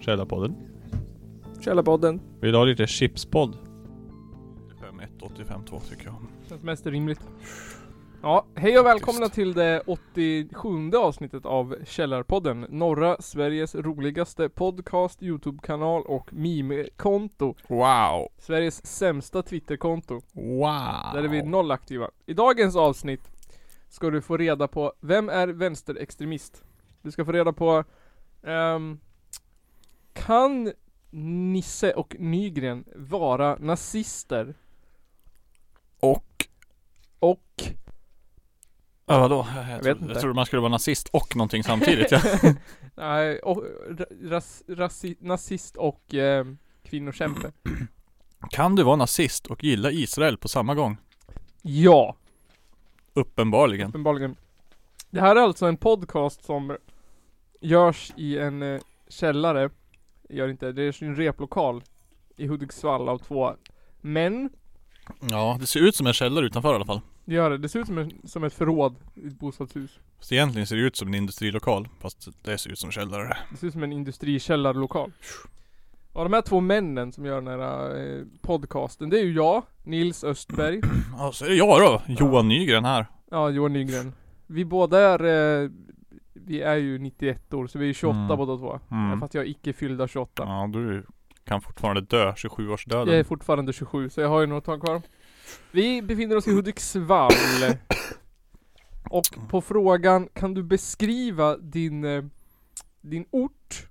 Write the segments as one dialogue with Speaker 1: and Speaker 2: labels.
Speaker 1: Källarpodden.
Speaker 2: Källarpodden.
Speaker 1: Vill du ha lite chipspodd? 5185 tycker jag.
Speaker 3: Känns mest rimligt. Ja, hej och välkomna till det 87 avsnittet av Källarpodden. Norra Sveriges roligaste podcast, Youtube-kanal och meme-konto.
Speaker 1: Wow!
Speaker 3: Sveriges sämsta Twitter-konto.
Speaker 1: Wow!
Speaker 3: Där är vi noll aktiva. I dagens avsnitt ska du få reda på, vem är vänsterextremist? Du ska få reda på, ehm, kan Nisse och Nygren vara nazister?
Speaker 1: Och?
Speaker 3: Och
Speaker 1: Ja, vadå? Jag, jag,
Speaker 3: vet
Speaker 1: trodde,
Speaker 3: inte.
Speaker 1: jag trodde man skulle vara nazist och någonting samtidigt. ja.
Speaker 3: Nej, och, ra- ras, rasi, nazist och eh, kvinnokämpe.
Speaker 1: Kan du vara nazist och gilla Israel på samma gång?
Speaker 3: Ja,
Speaker 1: Uppenbarligen.
Speaker 3: uppenbarligen. Det här är alltså en podcast som görs i en eh, källare. Gör inte, det är en replokal i Hudiksvall av två män.
Speaker 1: Ja, det ser ut som en källare utanför i alla fall.
Speaker 3: Det gör det. Det ser ut som, en, som ett förråd i ett bostadshus.
Speaker 1: Fast egentligen ser det ut som en industrilokal. Fast det ser ut som en källare.
Speaker 3: Det ser ut som en industrikällarlokal. Och de här två männen som gör den här eh, podcasten, det är ju jag, Nils Östberg.
Speaker 1: Ja, så är det jag då. Johan Nygren här.
Speaker 3: Ja, Johan Nygren. Vi båda är, eh, vi är ju 91 år, så vi är 28
Speaker 1: Mm.
Speaker 3: båda två.
Speaker 1: Mm.
Speaker 3: Fast jag är icke fyllda 28.
Speaker 1: Ja, du kan fortfarande dö 27-årsdöden.
Speaker 3: Jag är fortfarande 27, så jag har ju något tag kvar. Vi befinner oss i Hudiksvall. Och på frågan, kan du beskriva din, eh, din ort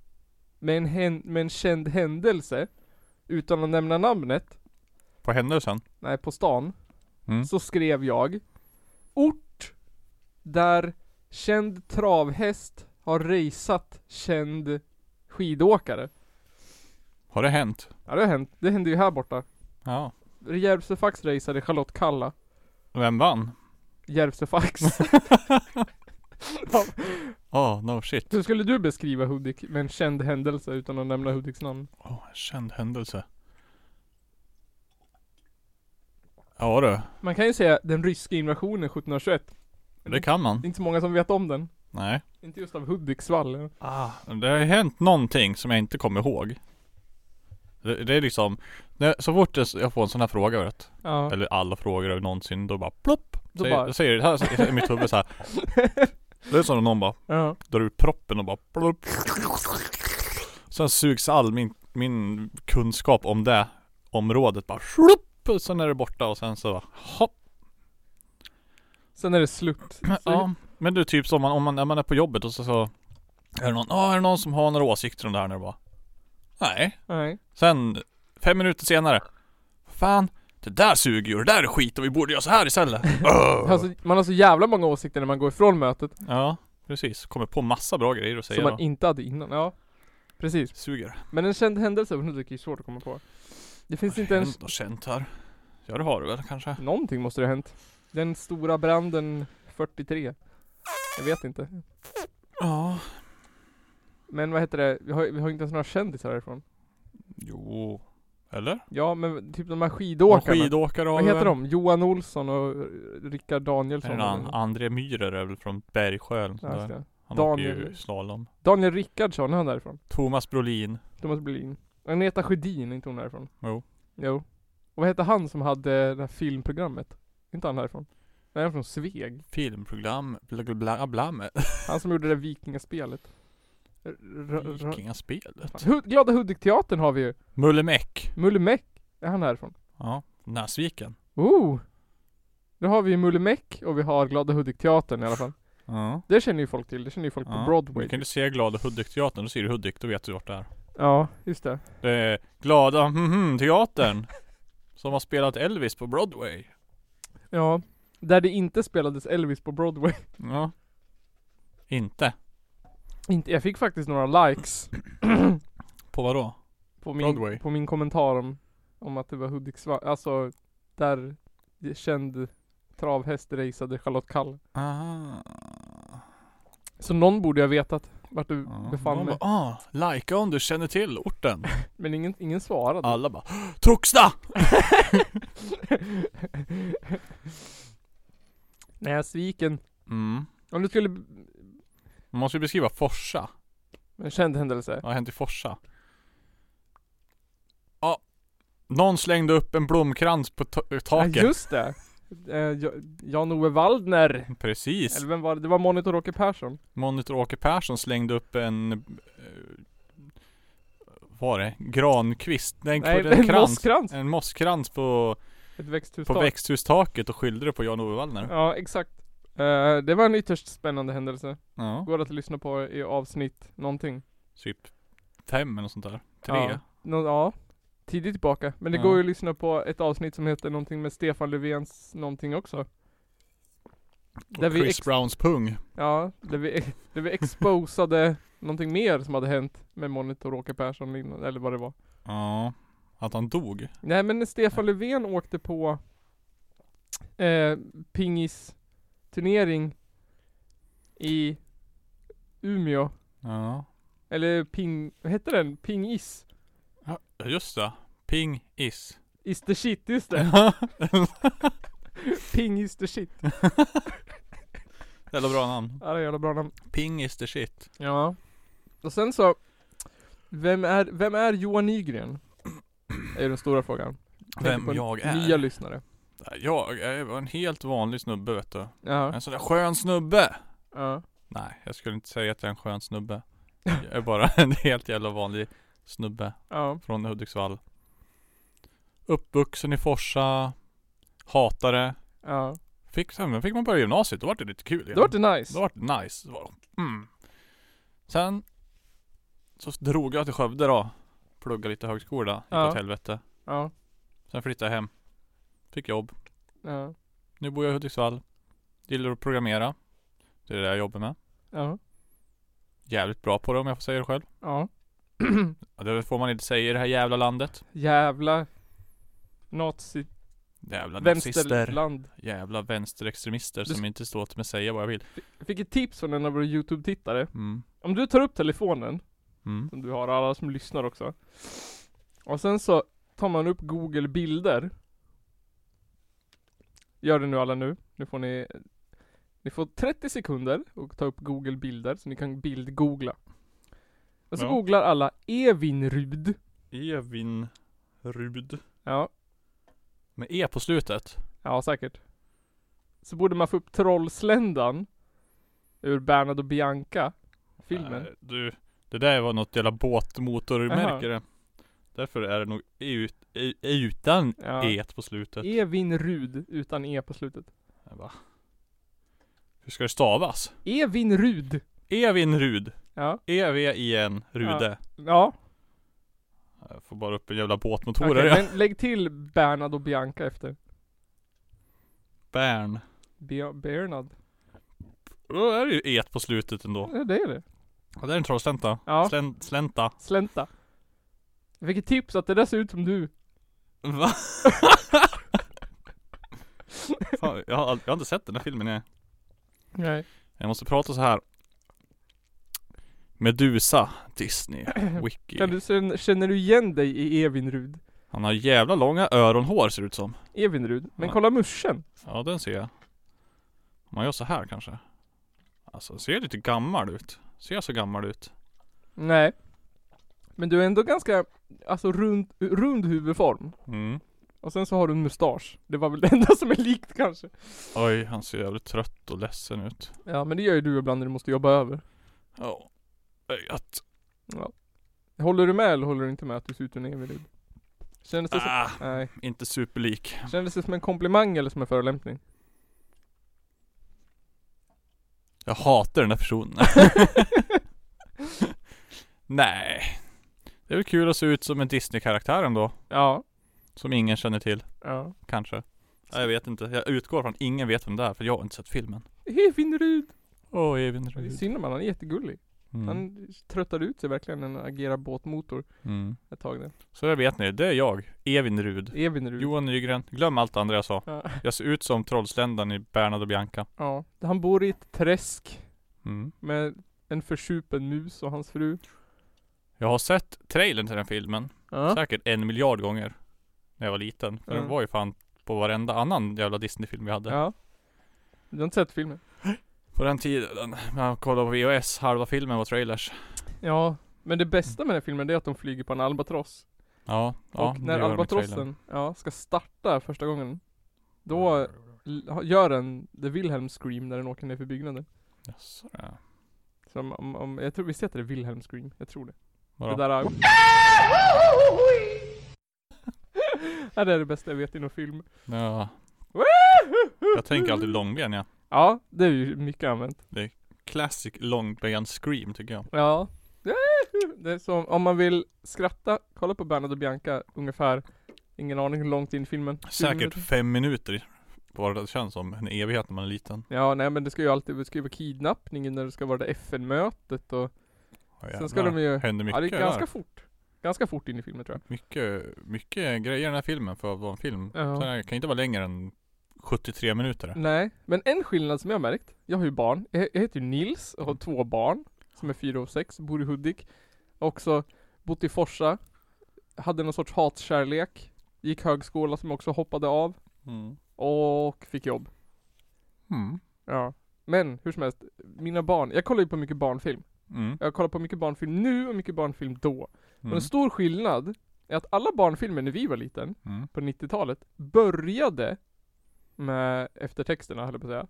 Speaker 3: med en, hän- med en känd händelse utan att nämna namnet?
Speaker 1: På händelsen.
Speaker 3: nej på stan,
Speaker 1: Mm.
Speaker 3: så skrev jag Ort där känd travhäst har raceat känd skidåkare.
Speaker 1: Har det hänt?
Speaker 3: Ja det har hänt, det hände ju här borta.
Speaker 1: Ja.
Speaker 3: Järvsöfax raceade Charlotte Kalla.
Speaker 1: Vem vann?
Speaker 3: Järvsöfax.
Speaker 1: Oh, no shit.
Speaker 3: Hur skulle du beskriva Hudik med en känd händelse utan att nämna Hudiks namn?
Speaker 1: Oh, en känd händelse. Ja du,
Speaker 3: Man kan ju säga den ryska invasionen 1721.
Speaker 1: det kan
Speaker 3: Det
Speaker 1: man.
Speaker 3: är inte så många som vet om den.
Speaker 1: Nej.
Speaker 3: Inte just av Hudiksvall.
Speaker 1: Ah, det har ju hänt någonting som jag inte kommer ihåg. Det, det är liksom, när, så fort jag s- jag får en sån här fråga vet,
Speaker 3: Ja.
Speaker 1: eller alla frågor någonsin, då bara plopp.
Speaker 3: Då
Speaker 1: säger,
Speaker 3: bara-
Speaker 1: säger det här i mitt huvud så här. Det är som om någon bara
Speaker 3: ja.
Speaker 1: drar ut proppen och bara plopp. Sen sugs all min, min kunskap om det området bara slupp. Sen är det borta och sen så bara hopp.
Speaker 3: Sen är det slut. Så-
Speaker 1: Ja, men det är typ som man, om man, när man är på jobbet och så, så är det någon, ja är det någon som har några åsikter om det här nu bara? Nej.
Speaker 3: Nej.
Speaker 1: Sen, fem minuter senare, fan, det där suger ju, det där är skit och vi borde göra så här istället. Öh.
Speaker 3: Alltså, man har så jävla många åsikter när man går ifrån mötet
Speaker 1: ja, precis. Kommer på massa bra grejer att säga
Speaker 3: som man
Speaker 1: då.
Speaker 3: inte hade innan. Ja, precis.
Speaker 1: Suger.
Speaker 3: Men en känd händelse från Hudik är svårt att komma på. Det finns inte ens...
Speaker 1: Något känt här. Ja det har du väl kanske?
Speaker 3: Någonting måste det ha hänt. Den stora branden 43. Jag vet inte.
Speaker 1: Ja.
Speaker 3: Men vad heter det? Vi har, vi har inte ens några kändisar härifrån.
Speaker 1: Jo. Eller?
Speaker 3: Ja, men typ de här
Speaker 1: Någon
Speaker 3: skidåkarna.
Speaker 1: skidåkare har
Speaker 3: vad
Speaker 1: vi
Speaker 3: heter
Speaker 1: väl?
Speaker 3: de? Johan Olsson och eh, Rickard
Speaker 1: Är det
Speaker 3: Danielsson.
Speaker 1: någon? André Myhrer är väl från Bergsjö eller något
Speaker 3: Ja,
Speaker 1: sånt
Speaker 3: just
Speaker 1: där.
Speaker 3: det.
Speaker 1: Han åker ju
Speaker 3: Daniel-
Speaker 1: slalom.
Speaker 3: Daniel Rickardsson, är han därifrån?
Speaker 1: Thomas Brolin.
Speaker 3: Thomas Brolin. Agneta Sjödin, är inte hon därifrån?
Speaker 1: Jo.
Speaker 3: Jo. Och vad hette han som hade det här filmprogrammet? Inte han härifrån? Nej, han är från Sveg.
Speaker 1: Filmprogram, bla bla bla, bla med
Speaker 3: Han som gjorde det där vikingaspelet. R- r- r-
Speaker 1: Vikingaspelet.
Speaker 3: Hud- Glada Hudik-teatern har vi ju.
Speaker 1: Mulle Meck.
Speaker 3: Mulle Meck, är han härifrån?
Speaker 1: Ja, Näsviken.
Speaker 3: Oh! Då har vi Mulle Meck och vi har Glada Hudik-teatern i alla fall.
Speaker 1: Ja.
Speaker 3: Det känner ju folk till, det känner ju folk
Speaker 1: Ja.
Speaker 3: på Broadway.
Speaker 1: Du kan ju se Glada Hudik-teatern, då ser du Hudik, då vet du vart det är.
Speaker 3: Ja, just det.
Speaker 1: Det är Glada mhm teatern Som har spelat Elvis på Broadway.
Speaker 3: Ja. Där det inte spelades Elvis på Broadway.
Speaker 1: Ja. Inte.
Speaker 3: Inte, jag fick faktiskt några likes
Speaker 1: På vad då?
Speaker 3: på min,
Speaker 1: Broadway.
Speaker 3: På min kommentar om, om att det var Hudiksvall, alltså där känd travhäst raceade Charlotte Kall.
Speaker 1: Ah.
Speaker 3: Så någon borde jag vetat vart du
Speaker 1: Ja.
Speaker 3: befann
Speaker 1: Någon
Speaker 3: mig.
Speaker 1: bara, ah, likea om du känner till orten.
Speaker 3: Men ingen, ingen svarade.
Speaker 1: Alla bara, Truxta!
Speaker 3: Nej, jag är sviken.
Speaker 1: Mm.
Speaker 3: Om du skulle...
Speaker 1: Man måste ju beskriva Forsa.
Speaker 3: En känd händelse.
Speaker 1: Vad har hänt i Forsa? Någon slängde upp en blomkrans på ta- eh, taket.
Speaker 3: Ja, just det. Eh, Ja- Jan-Ove Waldner.
Speaker 1: Precis.
Speaker 3: Eller vem var det? Det var Monitor Åke Persson.
Speaker 1: Monitor Åke Persson slängde upp en... Eh, vad var det? Grankvist? Nej,
Speaker 3: Nej,
Speaker 1: en krans.
Speaker 3: mosskrans.
Speaker 1: En mosskrans på,
Speaker 3: Ett
Speaker 1: på
Speaker 3: växthustak.
Speaker 1: växthustaket och skyllde det på Jan-Ove Wallner.
Speaker 3: Ja, exakt. Eh, det var en ytterst spännande händelse.
Speaker 1: Ja.
Speaker 3: Går att lyssna på i avsnitt någonting.
Speaker 1: Typ fem eller något sånt där. Tre.
Speaker 3: Ja. Nå, ja. Tidigt tillbaka. Men det
Speaker 1: Ja.
Speaker 3: går ju att lyssna på ett avsnitt som heter någonting med Stefan Löfvens någonting också. Där
Speaker 1: Och
Speaker 3: vi,
Speaker 1: Chris
Speaker 3: ex-
Speaker 1: Browns pung.
Speaker 3: ja, där vi, där vi exposade någonting mer som hade hänt med Monitor Åke Persson innan, eller vad det var.
Speaker 1: Ja. Att han dog.
Speaker 3: Nej men när Stefan Löfven åkte på eh, pingisturnering i Umeå.
Speaker 1: Ja.
Speaker 3: Eller ping, vad hette den? Pingis?
Speaker 1: Ja, Just det. Ping is.
Speaker 3: Is the shit, just det. Ping is the shit.
Speaker 1: Jävla bra namn.
Speaker 3: Ja det är jävla bra namn.
Speaker 1: Ping is the shit.
Speaker 3: Ja. Och sen så, vem är, vem är Johan Nygren? Är den stora frågan. Jag tänker
Speaker 1: Vem
Speaker 3: på
Speaker 1: jag är?
Speaker 3: Nya lyssnare.
Speaker 1: Jag är en helt vanlig snubbe vet du.
Speaker 3: Ja.
Speaker 1: En sån där skön snubbe.
Speaker 3: ja.
Speaker 1: Nej, jag skulle inte säga att jag är en skön snubbe. Jag är bara en helt jävla vanlig snubbe
Speaker 3: Ja.
Speaker 1: från Hudiksvall. Uppvuxen i Forsa. Hatare.
Speaker 3: Ja.
Speaker 1: Fick, sen fick man börja gymnasiet, då var det lite kul igen.
Speaker 3: Det vart nice.
Speaker 1: Då var det nice. Det var, mm. Sen så drog jag till Skövde då. Pluggade lite högskola. Gick
Speaker 3: Ja.
Speaker 1: åt helvete.
Speaker 3: Ja.
Speaker 1: Sen flyttade jag hem. Fick jobb.
Speaker 3: Ja.
Speaker 1: Nu bor jag i Hudiksvall. Gillar att programmera. Det är det jag jobbar med.
Speaker 3: Ja.
Speaker 1: Jävligt bra på det om jag får säga det själv.
Speaker 3: Ja.
Speaker 1: Ja, Det får man inte säga i det här jävla landet.
Speaker 3: Jävla nazi...
Speaker 1: Jävla nazister.
Speaker 3: Vänsterland.
Speaker 1: Jävla vänsterextremister
Speaker 3: Du-
Speaker 1: som inte står till mig säga vad jag vill.
Speaker 3: Jag fick ett tips från en av våra YouTube-tittare.
Speaker 1: Mm.
Speaker 3: Om du tar upp telefonen,
Speaker 1: Mm.
Speaker 3: som du har, och alla som lyssnar också. Och sen så tar man upp Google bilder. Gör det nu alla nu. Nu får ni Ni får 30 sekunder och ta upp Google bilder, så ni kan bildgoogla. Och så
Speaker 1: Ja.
Speaker 3: googlar alla Evinrud.
Speaker 1: Evin Rud.
Speaker 3: Ja,
Speaker 1: Med E på slutet.
Speaker 3: ja säkert. Så borde man få upp Trollsländan. Ur Bernard och Bianca. Filmen.
Speaker 1: Nej, Äh, du, det där var något jävla båtmotormärke det. Därför är det nog E ut, u- utan
Speaker 3: Ja.
Speaker 1: E på slutet.
Speaker 3: Evin Rud utan E på slutet.
Speaker 1: Va? Hur ska det stavas?
Speaker 3: Evin Rud.
Speaker 1: Evin Rud. E
Speaker 3: Ja.
Speaker 1: E-V-I-N Rude.
Speaker 3: Ja.
Speaker 1: Jag får bara upp en jävla
Speaker 3: Okej,
Speaker 1: båtmotor här. ja.
Speaker 3: men lägg till Bernard och Bianca efter.
Speaker 1: Bern.
Speaker 3: Be- Bernard.
Speaker 1: Då är det ju E på slutet ändå.
Speaker 3: Ja, det är det.
Speaker 1: Ja, det är en trollslänta.
Speaker 3: Ja.
Speaker 1: Slän, slänta.
Speaker 3: Slänta. Jag fick ett tips att det där ser ut som du.
Speaker 1: Va? Fan, jag, har, ald- jag har inte sett den här filmen. Jag,
Speaker 3: Nej.
Speaker 1: jag måste prata så här. Medusa Disney. Wiki.
Speaker 3: Kan du, sen- känner du igen dig i Evinrud?
Speaker 1: Han har jävla långa öronhår ser det ut som.
Speaker 3: Evinrud. Men
Speaker 1: Ja.
Speaker 3: kolla muschen.
Speaker 1: Ja den ser jag. Om man gör så här kanske. Alltså ser jag lite gammal ut? Ser jag så gammal ut?
Speaker 3: Nej. Men du är ändå ganska, alltså rund, rund huvudform.
Speaker 1: Mm.
Speaker 3: Och sen så har du en mustasch. Det var väl det enda som är likt kanske.
Speaker 1: Oj, han ser jävligt trött och ledsen ut.
Speaker 3: Ja men det gör ju du ibland när du måste jobba över.
Speaker 1: Ja. Att,
Speaker 3: Håller du med eller håller du inte med att du ser ut som en Evinrud? Kändes det, som,
Speaker 1: ah,
Speaker 3: nej.
Speaker 1: inte superlik.
Speaker 3: Kändes det som en komplimang eller som en förolämpning?
Speaker 1: Jag hatar den här personen. Nej. Det är väl kul att se ut som en Disney-karaktär ändå.
Speaker 3: Ja.
Speaker 1: Som ingen känner till.
Speaker 3: Ja.
Speaker 1: Kanske. Nej, jag vet inte. Jag utgår från att ingen vet vem det är för jag har inte sett filmen.
Speaker 3: Hej Finnerud!
Speaker 1: Åh, oh, Evin
Speaker 3: Det är
Speaker 1: Ryd.
Speaker 3: synd om han, han är jättegullig.
Speaker 1: Mm.
Speaker 3: Han tröttade ut sig verkligen när han agerade båtmotor
Speaker 1: Mm.
Speaker 3: ett tag där.
Speaker 1: Så det vet ni, det är jag, Evin Rud.
Speaker 3: Evinrud.
Speaker 1: Johan Nygren, glöm allt det andra jag sa.
Speaker 3: Ja.
Speaker 1: Jag ser ut som trollsländan i Bernad och Bianca.
Speaker 3: ja. Han bor i ett träsk
Speaker 1: Mm.
Speaker 3: med en försupen mus och hans fru.
Speaker 1: Jag har sett trailern till den filmen,
Speaker 3: Ja.
Speaker 1: säkert en miljard gånger. När jag var liten. För
Speaker 3: Mm.
Speaker 1: den var ju fan på varenda annan jävla Disney-film vi hade.
Speaker 3: ja. Du har inte sett filmen?
Speaker 1: På den tiden, man kollade på VHS, halva filmen var trailers.
Speaker 3: Ja. Men det bästa med den här filmen det är att de flyger på en albatross.
Speaker 1: Ja, ja
Speaker 3: och
Speaker 1: det gör de
Speaker 3: när
Speaker 1: i trailern.
Speaker 3: albatrossen ja, ska starta första gången, då l- gör den the Wilhelm scream när den åker ner för byggnaden.
Speaker 1: Jaså, ja.
Speaker 3: Så om, om, om, jag tror, visst heter det Wilhelm scream? Jag tror det.
Speaker 1: Vadå?
Speaker 3: Det där... ja, det är det bästa jag vet inom film.
Speaker 1: Ja. Jag tänker alltid långben ja.
Speaker 3: Ja, det är ju mycket använt.
Speaker 1: Classic långben scream tycker jag.
Speaker 3: Ja. Det är som, om man vill skratta, kolla på Bernard och Bianca ungefär, ingen aning hur långt in i filmen. Typ- 20
Speaker 1: Säkert
Speaker 3: minuter.
Speaker 1: fem minuter. Bara det känns som en evighet när man är liten.
Speaker 3: Ja, nej men det ska ju alltid, det ska ju vara kidnappningen när det ska vara det FN-mötet och
Speaker 1: Ja,
Speaker 3: Sen ska
Speaker 1: jävlar.
Speaker 3: de ju-
Speaker 1: Händer mycket
Speaker 3: Ja, det är ganska
Speaker 1: där.
Speaker 3: fort. Ganska fort in i filmen tror
Speaker 1: Mycket, mycket grejer i den här filmen för att vara en film.
Speaker 3: jag.
Speaker 1: Så den kan inte vara längre än 73 minuter.
Speaker 3: Nej, men en skillnad som jag har märkt. Jag har ju barn. Jag jag heter ju Nils och har två barn. Som är fyra och sex, bor i Hudik. Också bott i Forsa. Hade någon sorts hatkärlek. Gick högskola som jag också hoppade av.
Speaker 1: Mm.
Speaker 3: Och fick jobb.
Speaker 1: Mm.
Speaker 3: Ja. Men hur som helst, mina barn. Jag kollar ju på mycket barnfilm.
Speaker 1: Mm.
Speaker 3: Jag kollar på mycket barnfilm nu och mycket barnfilm då. Men
Speaker 1: Mm.
Speaker 3: en stor skillnad är att alla barnfilmer när vi var liten
Speaker 1: Mm.
Speaker 3: på 90-talet började med eftertexterna, höll jag på att säga.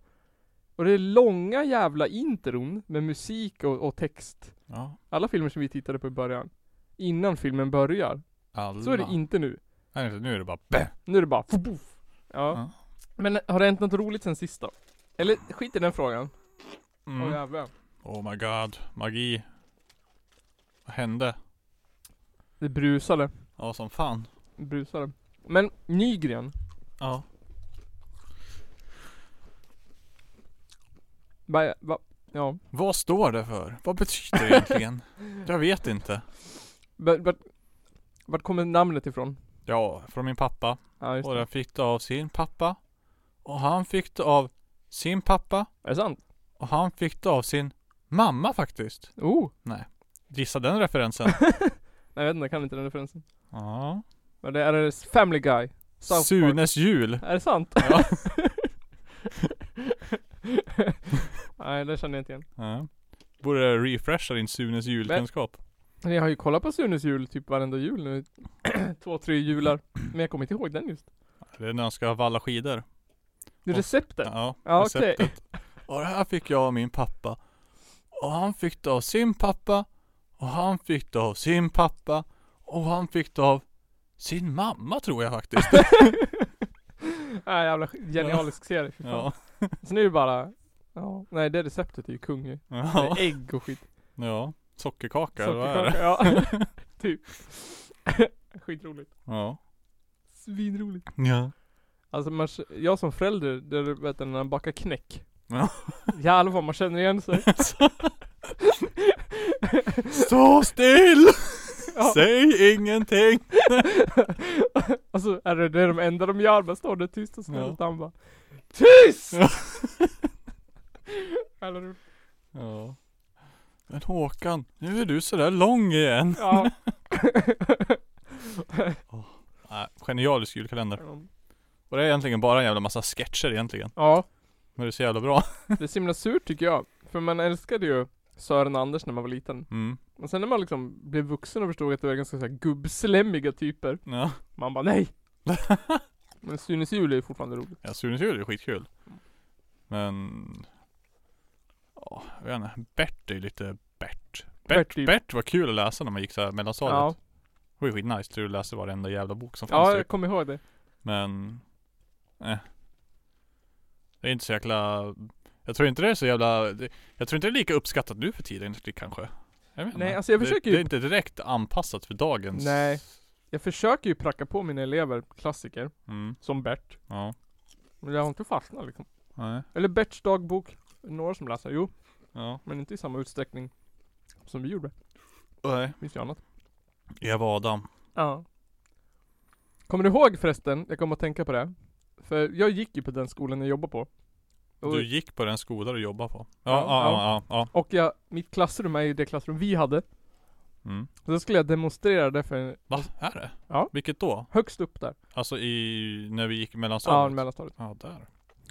Speaker 3: Och det är långa jävla intron med musik och, och text.
Speaker 1: Ja.
Speaker 3: Alla filmer som vi tittade på i början. Innan filmen börjar.
Speaker 1: Alla.
Speaker 3: Så är det inte nu.
Speaker 1: Nej, nu är det bara bäh.
Speaker 3: Nu är det bara fuff. Ja.
Speaker 1: Ja.
Speaker 3: Men har det hänt något roligt sen sista? Eller skit i den frågan. Åh
Speaker 1: Mm.
Speaker 3: jävlar.
Speaker 1: Oh my god. Magi. Vad hände?
Speaker 3: Det brusade.
Speaker 1: Ja som fan.
Speaker 3: Det brusade. Men Nygren.
Speaker 1: Ja.
Speaker 3: Va, va, ja.
Speaker 1: Vad står det för? Vad betyder det egentligen? jag vet inte.
Speaker 3: Vart, vart, vart kommer namnet ifrån?
Speaker 1: Ja, från min pappa.
Speaker 3: Ja, just
Speaker 1: Och
Speaker 3: det.
Speaker 1: den fick det av sin pappa. Och han fick det av sin pappa.
Speaker 3: Är det sant?
Speaker 1: Och han fick det av sin mamma faktiskt.
Speaker 3: Oh!
Speaker 1: Gissa den referensen.
Speaker 3: Nej, jag vet inte, jag kan inte den referensen.
Speaker 1: ja.
Speaker 3: Men det är det Family Guy. South Park.
Speaker 1: Sunes jul.
Speaker 3: Är det sant?
Speaker 1: Ja.
Speaker 3: Nej, det känner jag inte igen.
Speaker 1: ja. Borde refresha din Sunes julkunskap.
Speaker 3: Men Jag har ju kollat på Sunes jul typ varenda jul nu. Två, tre jular. Men jag kommer inte ihåg den just.
Speaker 1: Det är när han ska valla skidor.
Speaker 3: Det är
Speaker 1: Och-
Speaker 3: receptet.
Speaker 1: Ja,
Speaker 3: Ja, okej.
Speaker 1: receptet. Och det här fick jag av min pappa. Och han fick det av sin pappa. Och han fick det av sin pappa. Och han fick det av sin mamma tror jag faktiskt.
Speaker 3: Nej, jävla genialisk serie. Fy fan.
Speaker 1: Ja.
Speaker 3: Så nu är det bara... Ja. Nej, det receptet är ju kung ju.
Speaker 1: Ja.
Speaker 3: Det är ägg och skit.
Speaker 1: ja. Sockerkaka, eller vad är
Speaker 3: Sockerkaka.
Speaker 1: det?
Speaker 3: Ja, typ. Skitroligt.
Speaker 1: Ja.
Speaker 3: Svinroligt.
Speaker 1: Ja.
Speaker 3: Alltså man, jag som förälder, det är, vet du, när man bakar knäck.
Speaker 1: Ja.
Speaker 3: Jävlar vad man känner igen sig.
Speaker 1: Stå still!
Speaker 3: Ja.
Speaker 1: Säg ingenting!
Speaker 3: alltså är det, det är de enda de gör, bara står där tyst och snällt
Speaker 1: Ja.
Speaker 3: han bara TYST!
Speaker 1: Ja.
Speaker 3: Jävla roligt.
Speaker 1: Ja. Men Håkan, nu är du sådär lång igen.
Speaker 3: ja.
Speaker 1: Nej, genialisk julkalender. Och det är egentligen bara en jävla massa sketcher egentligen.
Speaker 3: ja,
Speaker 1: Men det är så jävla bra.
Speaker 3: det är så himla surt tycker jag. För man älskade ju Sören och Anders när man var liten.
Speaker 1: Mm.
Speaker 3: Men sen när man liksom blev vuxen och förstod att det var ganska så här gubbslämmiga typer.
Speaker 1: Ja.
Speaker 3: Man bara nej! Men Sunes jul är ju fortfarande roligt.
Speaker 1: Ja, Sunes jul är skitkul.
Speaker 3: Mm.
Speaker 1: Men... Ja, jag vet inte. Bert är ju lite Bert. Bert,
Speaker 3: Bert är ju-
Speaker 1: Bert, var kul att läsa när man gick så här mellanstadiet.
Speaker 3: Ja,
Speaker 1: Det var ju skitnice. Du läste varenda jävla bok som fanns.
Speaker 3: ja
Speaker 1: typ.
Speaker 3: jag kommer ihåg det.
Speaker 1: Men... Eh. Det är inte så jäkla... Jag tror inte det är så jävla... det- Jag tror inte det är lika uppskattat nu för tiden riktigt kanske. Jag vet
Speaker 3: Nej,
Speaker 1: inte.
Speaker 3: alltså jag
Speaker 1: det,
Speaker 3: försöker ju-
Speaker 1: Det är inte direkt anpassat för dagens...
Speaker 3: Nej. Jag försöker ju pracka på mina elever klassiker,
Speaker 1: Mm,
Speaker 3: som Bert.
Speaker 1: ja.
Speaker 3: Men jag har inte fastnat liksom.
Speaker 1: Nej.
Speaker 3: Eller Berts dagbok. Några som läser, jo.
Speaker 1: Ja.
Speaker 3: Men inte i samma utsträckning som vi gjorde.
Speaker 1: Nej.
Speaker 3: Finns ju annat.
Speaker 1: Eva Adam.
Speaker 3: Ja. Kommer du ihåg förresten, jag kommer att tänka på det. För jag gick ju på den skolan jag jobbar på. Och,
Speaker 1: Du gick på den skola du jobbar på. Ja,
Speaker 3: Ja,
Speaker 1: ja, ja. ja, ja.
Speaker 3: och jag, mitt klassrum är ju det klassrum vi hade.
Speaker 1: Mm.
Speaker 3: Så då skulle jag demonstrera det för
Speaker 1: Va? Är det?
Speaker 3: Ja.
Speaker 1: Vilket då?
Speaker 3: högst upp där.
Speaker 1: Alltså i, när vi gick
Speaker 3: Ja,
Speaker 1: mellanstadiet?
Speaker 3: mellanstadiet.
Speaker 1: Ja, där.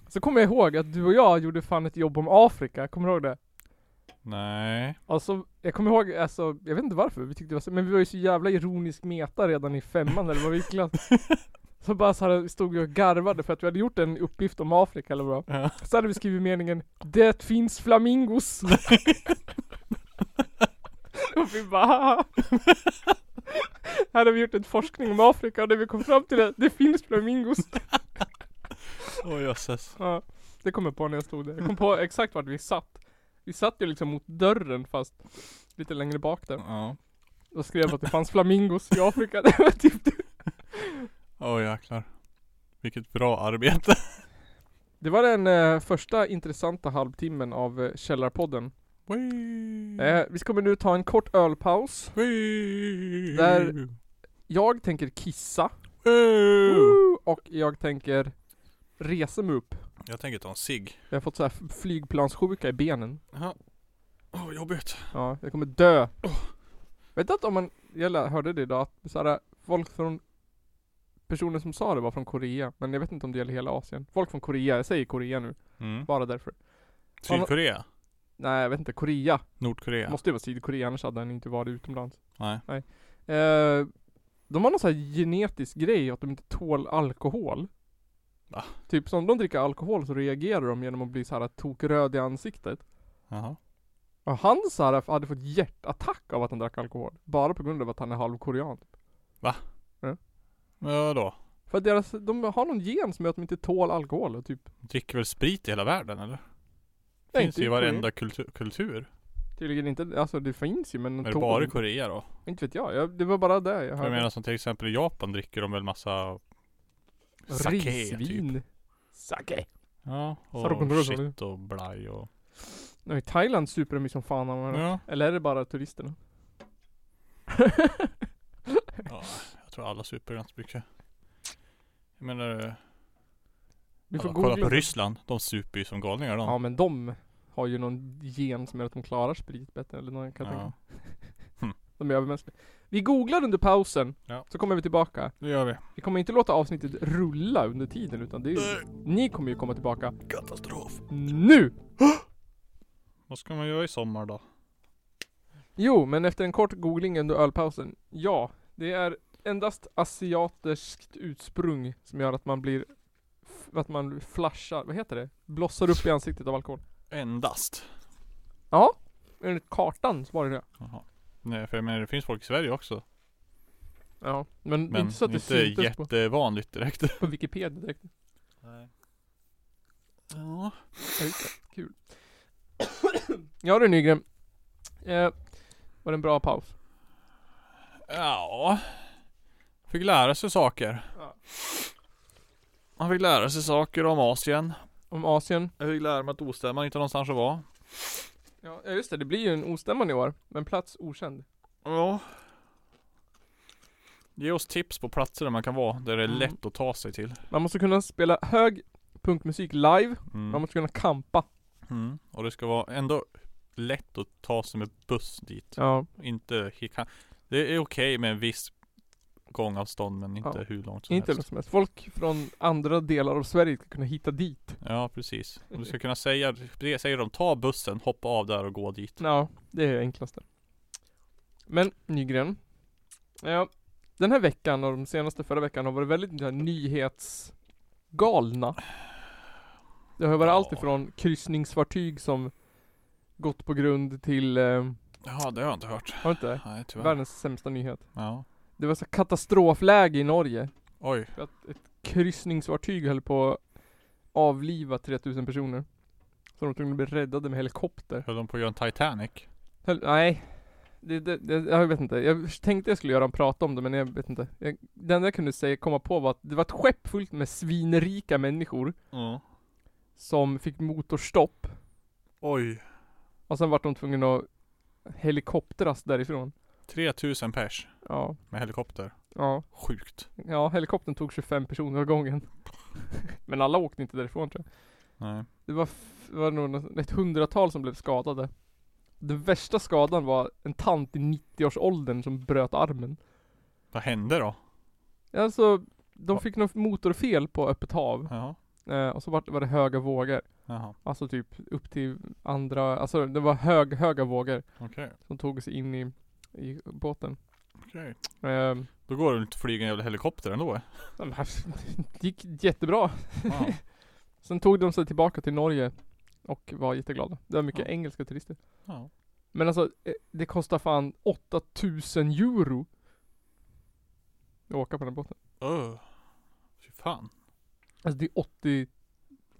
Speaker 3: Så kommer jag ihåg att du och jag gjorde fan ett jobb om Afrika, kommer du ihåg det?
Speaker 1: Nej.
Speaker 3: Alltså, jag kommer ihåg, alltså, jag vet inte varför vi tyckte det var så, men vi var ju så jävla ironisk meta redan i femman eller vad vi gick i klass. Så bara så här, stod vi och garvade för att vi hade gjort en uppgift om Afrika eller vad
Speaker 1: Ja.
Speaker 3: Så hade vi skrivit meningen Det finns flamingos. och vi bara "Haha." Här har vi gjort en forskning om Afrika och det vi kom fram till är det finns flamingos.
Speaker 1: Åh jösses.
Speaker 3: Ja, det kom jag på när jag stod där. Jag kom på exakt vart vi satt. Vi satt ju liksom mot dörren fast lite längre bak där.
Speaker 1: Ja.
Speaker 3: Och skrev att det fanns flamingos i Afrika. Det var typ det.
Speaker 1: Åh jäklar. Vilket bra arbete.
Speaker 3: Det var den eh, första intressanta halvtimmen av eh, Källarpodden.
Speaker 1: Wee.
Speaker 3: Eh, vi kommer nu ta en kort ölpaus.
Speaker 1: Wee.
Speaker 3: där- Jag tänker kissa.
Speaker 1: Wee.
Speaker 3: Woo! Och jag tänker resa mig upp.
Speaker 1: Jag tänker ta en cigg.
Speaker 3: Jag har fått så här f- flygplanssjuka i benen.
Speaker 1: Jaha. Åh vad jobbigt.
Speaker 3: Ja, jag kommer dö. Vet du att om man, jag lä- hörde det idag, att så här, folk från Personen som sa det var från Korea, men jag vet inte om det gäller hela Asien. Folk från Korea, jag säger Korea nu,
Speaker 1: Mm.
Speaker 3: bara därför.
Speaker 1: Sydkorea?
Speaker 3: Nej jag vet inte, Korea.
Speaker 1: Nordkorea?
Speaker 3: Måste ju vara Sydkorea, annars hade han inte varit utomlands.
Speaker 1: Nej.
Speaker 3: Eh, de har någon sån här genetisk grej att de inte tål alkohol.
Speaker 1: Va?
Speaker 3: Typ som de dricker alkohol så reagerar de genom att bli så här tokröd i ansiktet.
Speaker 1: Jaha.
Speaker 3: Och han så här hade fått hjärtattack av att han drack alkohol. Bara på grund av att han är halvkorean.
Speaker 1: Men vadå?
Speaker 3: För att deras, de har någon gen som gör att de inte tål alkohol och typ.
Speaker 1: Dricker väl sprit i hela världen eller?
Speaker 3: Nej,
Speaker 1: finns
Speaker 3: inte
Speaker 1: ju i
Speaker 3: i Korea.
Speaker 1: varenda kultur. kultur.
Speaker 3: Tydligen inte, alltså det finns ju men de
Speaker 1: Är det
Speaker 3: tål
Speaker 1: bara i
Speaker 3: inte.
Speaker 1: Korea då?
Speaker 3: Inte vet jag, jag, det var bara det jag
Speaker 1: För Jag
Speaker 3: hörde.
Speaker 1: menar som till exempel i Japan dricker de väl massa sake typ.
Speaker 3: Risvin. Sake.
Speaker 1: Ja,
Speaker 3: Sargonrosa,
Speaker 1: och shit och blaj och...
Speaker 3: Nej, I Thailand super de ju som fan av varandra.
Speaker 1: Ja.
Speaker 3: Eller är det bara turisterna?
Speaker 1: ja. Jag tror alla super ganska mycket. Jag menar, eh,
Speaker 3: Vi får
Speaker 1: alla, kolla på
Speaker 3: googla.
Speaker 1: Ryssland. De super ju som galningar de.
Speaker 3: Ja men de har ju någon gen som gör att de klarar sprit bättre eller någon kan jag
Speaker 1: Ja.
Speaker 3: tänka.
Speaker 1: Hm.
Speaker 3: De är övermänskliga. Vi googlar under pausen,
Speaker 1: Ja.
Speaker 3: så kommer vi tillbaka.
Speaker 1: Det gör vi.
Speaker 3: Vi kommer inte låta avsnittet rulla under tiden utan det är ju, ni kommer ju komma tillbaka
Speaker 1: Katastrof.
Speaker 3: nu!
Speaker 1: Vad ska man göra i sommar då?
Speaker 3: Jo, men efter en kort googling under ölpausen. Ja, det är endast asiatiskt utsprung som gör att man blir, f- att man flashar, vad heter det? Blossar upp i ansiktet av alkohol.
Speaker 1: Endast.
Speaker 3: Ja, enligt kartan så var det det.
Speaker 1: Jaha. Nej för jag menar det finns folk i Sverige också.
Speaker 3: Ja, men,
Speaker 1: Men
Speaker 3: inte så att det
Speaker 1: inte
Speaker 3: syntes på,
Speaker 1: jättevanligt direkt.
Speaker 3: på Wikipedia direkt.
Speaker 1: Nej. Ja.
Speaker 3: Ja, just det. Kul. ja du Nygren. Eh, var det en bra paus?
Speaker 1: Ja. Fick lära sig saker.
Speaker 3: Ja.
Speaker 1: Man fick lära sig saker om Asien.
Speaker 3: Om Asien.
Speaker 1: Jag fick lära mig att ostämman inte har någonstans att vara.
Speaker 3: Ja ja, just det, det blir ju en ostämman i år. Men plats okänd.
Speaker 1: Ja. Ge oss tips på platser där man kan vara, där det är
Speaker 3: Mm.
Speaker 1: lätt att ta sig till.
Speaker 3: Man måste kunna spela hög punkmusik live. Man
Speaker 1: Mm.
Speaker 3: måste kunna kampa.
Speaker 1: Mm. Och det ska vara ändå lätt att ta sig med buss dit.
Speaker 3: Ja.
Speaker 1: Inte, he- kan- det är okej med en viss gångavstånd men inte
Speaker 3: Ja.
Speaker 1: hur långt som
Speaker 3: Inte
Speaker 1: helst.
Speaker 3: något som helst. Folk från andra delar av Sverige ska kunna hitta dit.
Speaker 1: Ja precis. Och du ska kunna säga, det säger de ta bussen, hoppa av där och gå dit.
Speaker 3: Ja, det är det enklaste. Men Nygren. Ja, den här veckan och de senaste förra veckan har varit väldigt så här, nyhetsgalna. Det har ju varit
Speaker 1: Ja.
Speaker 3: allt ifrån kryssningsfartyg som gått på grund till, eh,
Speaker 1: Ja det har jag inte hört.
Speaker 3: har du inte?
Speaker 1: Nej tyvärr.
Speaker 3: Världens sämsta nyhet.
Speaker 1: Ja.
Speaker 3: Det var så här katastrofläge i Norge.
Speaker 1: Oj.
Speaker 3: För att ett kryssningsfartyg höll på att avliva 3000 personer. Så de var tvungna att bli räddade med helikopter.
Speaker 1: Höll de på att göra en Titanic?
Speaker 3: Höll, nej. Det, det, det, jag vet inte. Jag tänkte jag skulle göra en prata om det men jag vet inte. Jag, det enda jag kunde säga, komma på var att det var ett skepp fullt med svinrika människor
Speaker 1: Ja.
Speaker 3: som fick motorstopp
Speaker 1: Oj.
Speaker 3: och sen vart de tvungna att helikoptras därifrån.
Speaker 1: 3000 pers
Speaker 3: Ja,
Speaker 1: med helikopter.
Speaker 3: ja,
Speaker 1: Sjukt.
Speaker 3: ja helikoptern tog 25 personer åt gången. men alla åkte inte därifrån tror jag.
Speaker 1: Nej.
Speaker 3: Det var, f- det var nog något- ett hundratal som blev skadade. Den värsta skadan var en tant i 90-årsåldern som bröt armen.
Speaker 1: Vad hände då?
Speaker 3: Alltså, de
Speaker 1: Va-
Speaker 3: fick något motorfel på öppet hav.
Speaker 1: Ja.
Speaker 3: Eh, och så var det, var det höga vågor.
Speaker 1: Jaha,
Speaker 3: Alltså typ upp till andra, alltså det var hög, höga vågor
Speaker 1: okej.
Speaker 3: som tog sig in i, i båten.
Speaker 1: Okej.
Speaker 3: Ehm,
Speaker 1: Då går det inte att flyga en jävla helikopter ändå.
Speaker 3: de här- det gick jättebra.
Speaker 1: Ja.
Speaker 3: Sen tog de sig tillbaka till Norge och var jätteglada. Det var mycket
Speaker 1: Ja.
Speaker 3: engelska turister.
Speaker 1: ja.
Speaker 3: Men alltså eh, det kostar fan 8000 euro att åka på den båten.
Speaker 1: Öh. Fy fan.
Speaker 3: Alltså det är 80,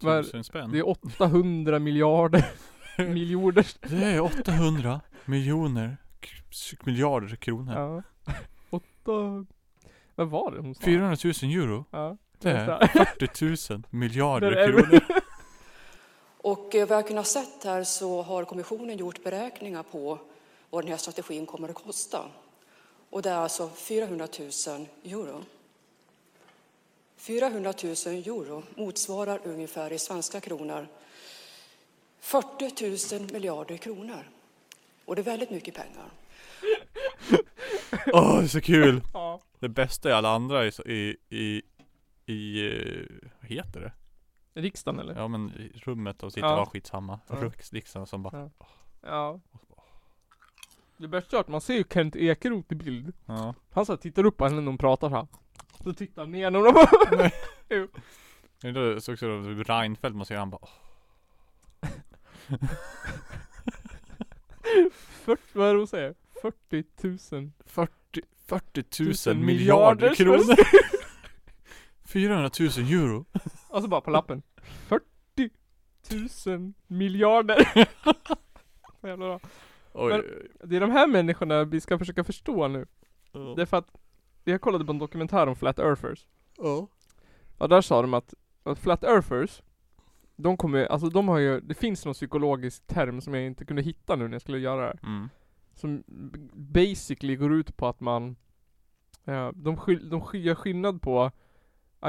Speaker 3: Vad är-
Speaker 1: Tusen spänn.
Speaker 3: det är 800 miljarder miljoner.
Speaker 1: Det är 800 miljoner k- miljarder kronor.
Speaker 3: Ja. Åtta... Vad var det hon sa?
Speaker 1: 400 000 euro.
Speaker 3: Ja.
Speaker 1: Det
Speaker 3: Vänta.
Speaker 1: är 40 000 miljarder
Speaker 3: Det är-
Speaker 1: kronor.
Speaker 4: Och eh, vad jag kunnat sett här så har kommissionen gjort beräkningar på vad den här strategin kommer att kosta. Och det är alltså 400 000 euro. 400 000 euro motsvarar ungefär i svenska kronor 40 000 miljarder kronor. Och det är väldigt mycket pengar.
Speaker 1: Åh, det är så kul!
Speaker 3: Ja.
Speaker 1: Det bästa är alla andra i, i, i, i eh, vad heter det?
Speaker 3: Riksdagen eller?
Speaker 1: Ja men i rummet och sitter
Speaker 3: Ja.
Speaker 1: ja. skitsamma.
Speaker 3: Ja.
Speaker 1: Ja. Liksom som bara,
Speaker 3: Ja. Det bästa är att man ser ju Kent Ekeroth i bild.
Speaker 1: ja.
Speaker 3: Han så här tittar upp på henne när hon pratar så här. Så tittar han ner när hon bara
Speaker 1: Men då såg också då Reinfeldt, man ser han bara, åh,
Speaker 3: 40, vad är det hon säger? 40 000.
Speaker 1: 40, 40
Speaker 3: Tusen
Speaker 1: 000 miljarder
Speaker 3: miljarder
Speaker 1: kronor! 400 000 euro!
Speaker 3: Och så Alltså bara på lappen. 40 000 miljarder. Så jävla bra.
Speaker 1: Oj,
Speaker 3: Men- Det är de här människorna vi ska försöka förstå nu.
Speaker 1: ja.
Speaker 3: Det är för att jag kollade på en dokumentär om Flat Earthers.
Speaker 1: Ja.
Speaker 3: Och där sa de att, att Flat Earthers, de kommer, alltså de har ju, det finns någon psykologisk term som jag inte kunde hitta nu när jag skulle göra det här.
Speaker 1: Mm.
Speaker 3: Som b- basically går ut på att man, eh, de, skill, de skill, gör skillnad på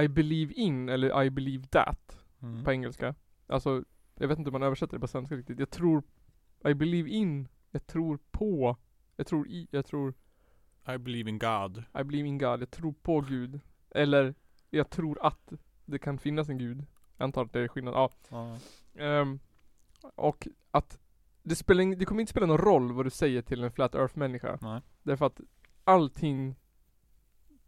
Speaker 3: I believe in eller I believe that
Speaker 1: Mm.
Speaker 3: på engelska. Alltså, jag vet inte hur man översätter det på svenska riktigt. Jag tror, I believe in, jag tror på, jag tror i, jag tror
Speaker 1: I believe in God.
Speaker 3: I believe in God, jag tror på Gud. Eller, jag tror att det kan finnas en Gud. Jag antar att det är skillnad, ja.
Speaker 1: Ja.
Speaker 3: Ehm, och att det, spelar, ing- det kommer inte spela någon roll vad du säger till en flat earth människa.
Speaker 1: Nej.
Speaker 3: Därför att allting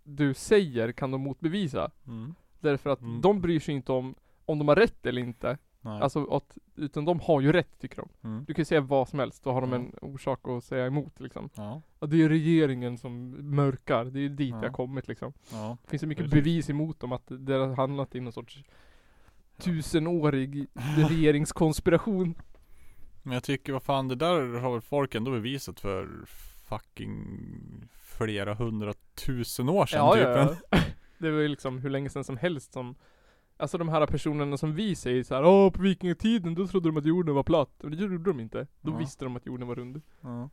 Speaker 3: du säger kan de motbevisa.
Speaker 1: Mm.
Speaker 3: Därför att
Speaker 1: Mm.
Speaker 3: de bryr sig inte om om de har rätt eller inte.
Speaker 1: Nej.
Speaker 3: Alltså att, utan de har ju rätt tycker de.
Speaker 1: mm.
Speaker 3: Du kan ju säga vad som helst, då har de
Speaker 1: Ja.
Speaker 3: en orsak att säga emot liksom.
Speaker 1: Ja.
Speaker 3: Och det är regeringen som mörkar, det är dit
Speaker 1: Ja.
Speaker 3: jag kommit liksom.
Speaker 1: Ja.
Speaker 3: Det finns så mycket
Speaker 1: Precis.
Speaker 3: bevis emot dem att det har handlat i någon sorts tusenårig regeringskonspiration.
Speaker 1: Men jag tycker vad fan det där har väl folk ändå bevisat för fucking flera hundratusen år sedan typ. Men-
Speaker 3: Det var ju liksom hur länge sedan som helst som Alltså de här personerna som vi säger så här, Åh på vikingatiden då trodde de att jorden var platt. Men det gjorde de inte. Då
Speaker 1: Ja.
Speaker 3: visste de att jorden var rund.
Speaker 1: Ja.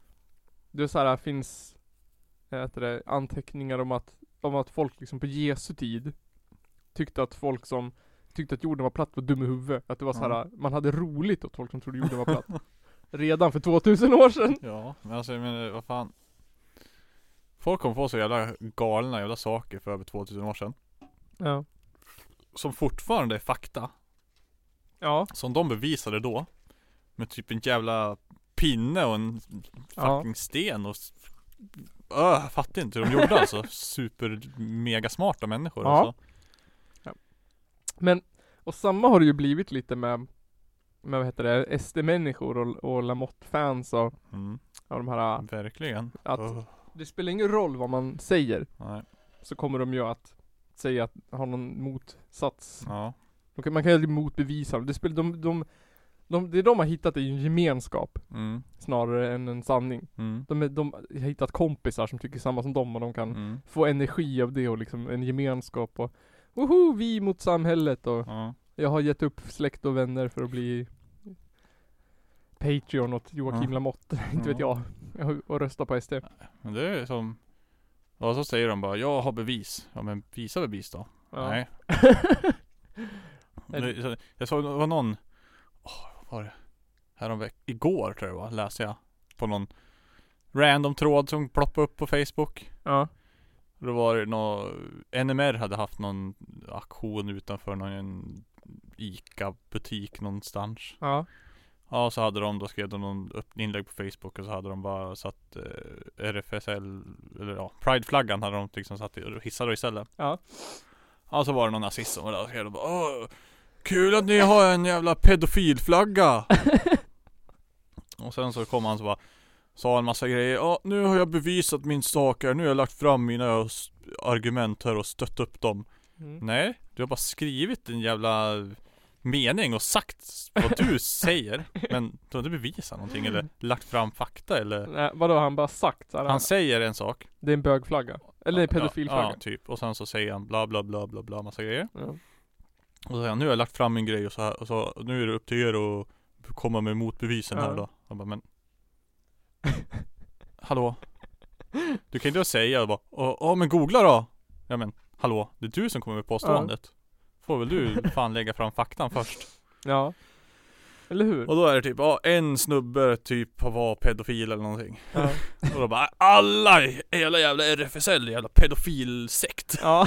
Speaker 3: Det är så här, finns vad heter det, anteckningar om att, om att folk liksom på Jesu tid tyckte att folk som tyckte att jorden var platt var dum i huvudet. Att det var så här, man hade roligt åt folk som trodde jorden var platt. Redan för 2000 år sedan.
Speaker 1: ja, men alltså jag menar vad fan. Folk kom på så jävla galna jävla saker för över 2000 år sedan.
Speaker 3: Ja.
Speaker 1: Som fortfarande är fakta.
Speaker 3: Ja.
Speaker 1: Som de bevisade då. Med typ en jävla pinne och en
Speaker 3: Ja.
Speaker 1: fucking sten och s- Öh, jag fattar inte hur de gjorde alltså. Super mega smarta människor
Speaker 3: Ja.
Speaker 1: alltså.
Speaker 3: Men, och samma har det ju blivit lite med, med vad heter det, SD-människor och, och Lamotte-fans och,
Speaker 1: Mm,
Speaker 3: och de här.
Speaker 1: verkligen.
Speaker 3: Att
Speaker 1: Öh,
Speaker 3: det spelar ingen roll vad man säger.
Speaker 1: nej.
Speaker 3: Så kommer de ju att säga att, ha någon motsats.
Speaker 1: Ja.
Speaker 3: De kan, man kan ju aldrig motbevisa dem. Det, spelar, de, de, de, det de har hittat är ju en gemenskap
Speaker 1: Mm,
Speaker 3: snarare än en sanning.
Speaker 1: mm,
Speaker 3: De, är- de har hittat kompisar som tycker samma som dem och de kan
Speaker 1: mm.
Speaker 3: få energi av det och liksom en gemenskap och Woho, vi mot samhället och
Speaker 1: Ja.
Speaker 3: jag har gett upp släkt och vänner för att bli Patreon åt Joakim
Speaker 1: Ja.
Speaker 3: Lamotte, inte vet jag. Och rösta på SD.
Speaker 1: Men det är som Ja så säger de bara, jag har bevis. Ja men visa bevis då.
Speaker 3: Ja.
Speaker 1: Nej. Det- så- jag såg, det var någon, åh, vad var det? Häromveck, igår tror jag det var, läste jag. På någon random tråd som ploppade upp på Facebook.
Speaker 3: Ja.
Speaker 1: Då var det nå NMR hade haft någon aktion utanför någon ICA-butik någonstans.
Speaker 3: Ja.
Speaker 1: Ja, så hade de, då skrev de någon upp- inlägg på Facebook och så hade de bara satt eh, RFSL, eller ja, Pride-flaggan hade de liksom satt i, hissade istället.
Speaker 3: Ja.
Speaker 1: Ja, så var det någon nazist som var där och skrev bara Åh, kul att ni har en jävla pedofilflagga! och sen så kom han så bara Sa en massa grejer, ja nu har jag bevisat min sak här, nu har jag lagt fram mina s- argument här och stött upp dem
Speaker 3: Mm.
Speaker 1: Nej, du har bara skrivit en jävla mening och sagt vad du säger Men du har inte bevisat någonting eller lagt fram fakta eller
Speaker 3: Nej, vadå har han bara sagt? Så här,
Speaker 1: Han säger en sak
Speaker 3: Det är en bögflagga. Eller en
Speaker 1: Ja,
Speaker 3: pedofilflagga.
Speaker 1: ja, typ. Och sen så säger han bla bla bla bla bla massa grejer
Speaker 3: Ja.
Speaker 1: Och så säger han nu har jag lagt fram min grej och så här och så nu är det upp till er och komma med motbevisen
Speaker 3: Ja.
Speaker 1: här då Jag bara men Hallå? Du kan ju inte säga bara "Ja, ja men googla då Ja men hallå, det är du som kommer med påståendet Får väl du fan lägga fram faktan först
Speaker 3: Ja. Eller hur?
Speaker 1: Och då är det typ, ja en snubbe typ var pedofil eller någonting
Speaker 3: Ja.
Speaker 1: Och då bara, alla, i hela jävla RFSL, jävla pedofilsekt
Speaker 3: ja.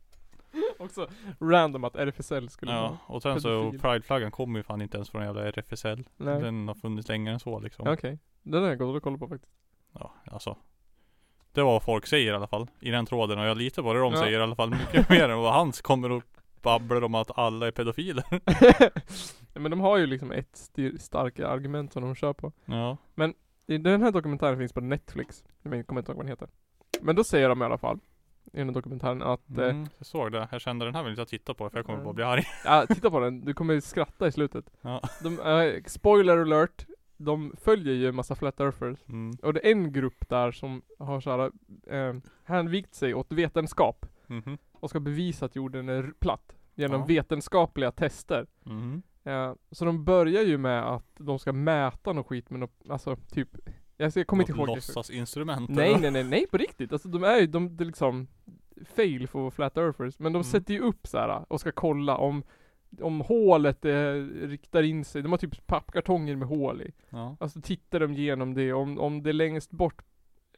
Speaker 3: Också random att RFSL skulle
Speaker 1: Ja,
Speaker 3: vara.
Speaker 1: och sen så
Speaker 3: Mm. pedofil.
Speaker 1: prideflaggan kommer ju fan inte ens från jävla RFSL
Speaker 3: Nej.
Speaker 1: Den har funnits längre än så liksom
Speaker 3: Ja, Okej. Den har jag gått och kollat på faktiskt.
Speaker 1: Ja, alltså Det var vad folk säger i alla fall I den tråden och jag litar på det de
Speaker 3: Ja.
Speaker 1: säger i alla fall Mycket mer än vad hans kommer och babblar om att alla är pedofiler
Speaker 3: Ja, Men de har ju liksom ett styr- starka argument som de kör på.
Speaker 1: Ja
Speaker 3: I Den här dokumentären finns på Netflix. Jag kommer inte ihåg vad den heter. Men då säger de i alla fall, i den här dokumentären att eh,
Speaker 1: mm, Jag såg det, jag kände den här vill inte jag titta på för jag kommer
Speaker 3: Mm.
Speaker 1: bara bli arg
Speaker 3: Ja, titta på den. Du kommer skratta i slutet.
Speaker 1: Ja.
Speaker 3: De, eh, spoiler alert. De följer ju en massa flat earthers.
Speaker 1: mm.
Speaker 3: Och det är en grupp där som har så här, eh, hänvikt sig åt vetenskap.
Speaker 1: Mhm.
Speaker 3: Och ska bevisa att jorden är r- platt. Genom
Speaker 1: Ja.
Speaker 3: vetenskapliga tester.
Speaker 1: Mhm.
Speaker 3: Eh, så de börjar ju med att de ska mäta något skit med något, alltså typ. Jag, jag kommer inte ihåg. det.
Speaker 1: Låtsas instrument
Speaker 3: Nej nej nej, nej på riktigt. Alltså de är ju, de, det är liksom fail för flat earthers. Men de
Speaker 1: Mm.
Speaker 3: sätter ju upp så här och ska kolla om, om hålet eh, riktar in sig. De har typ pappkartonger med hål i.
Speaker 1: Ja.
Speaker 3: Alltså tittar de igenom det, om, om det längst bort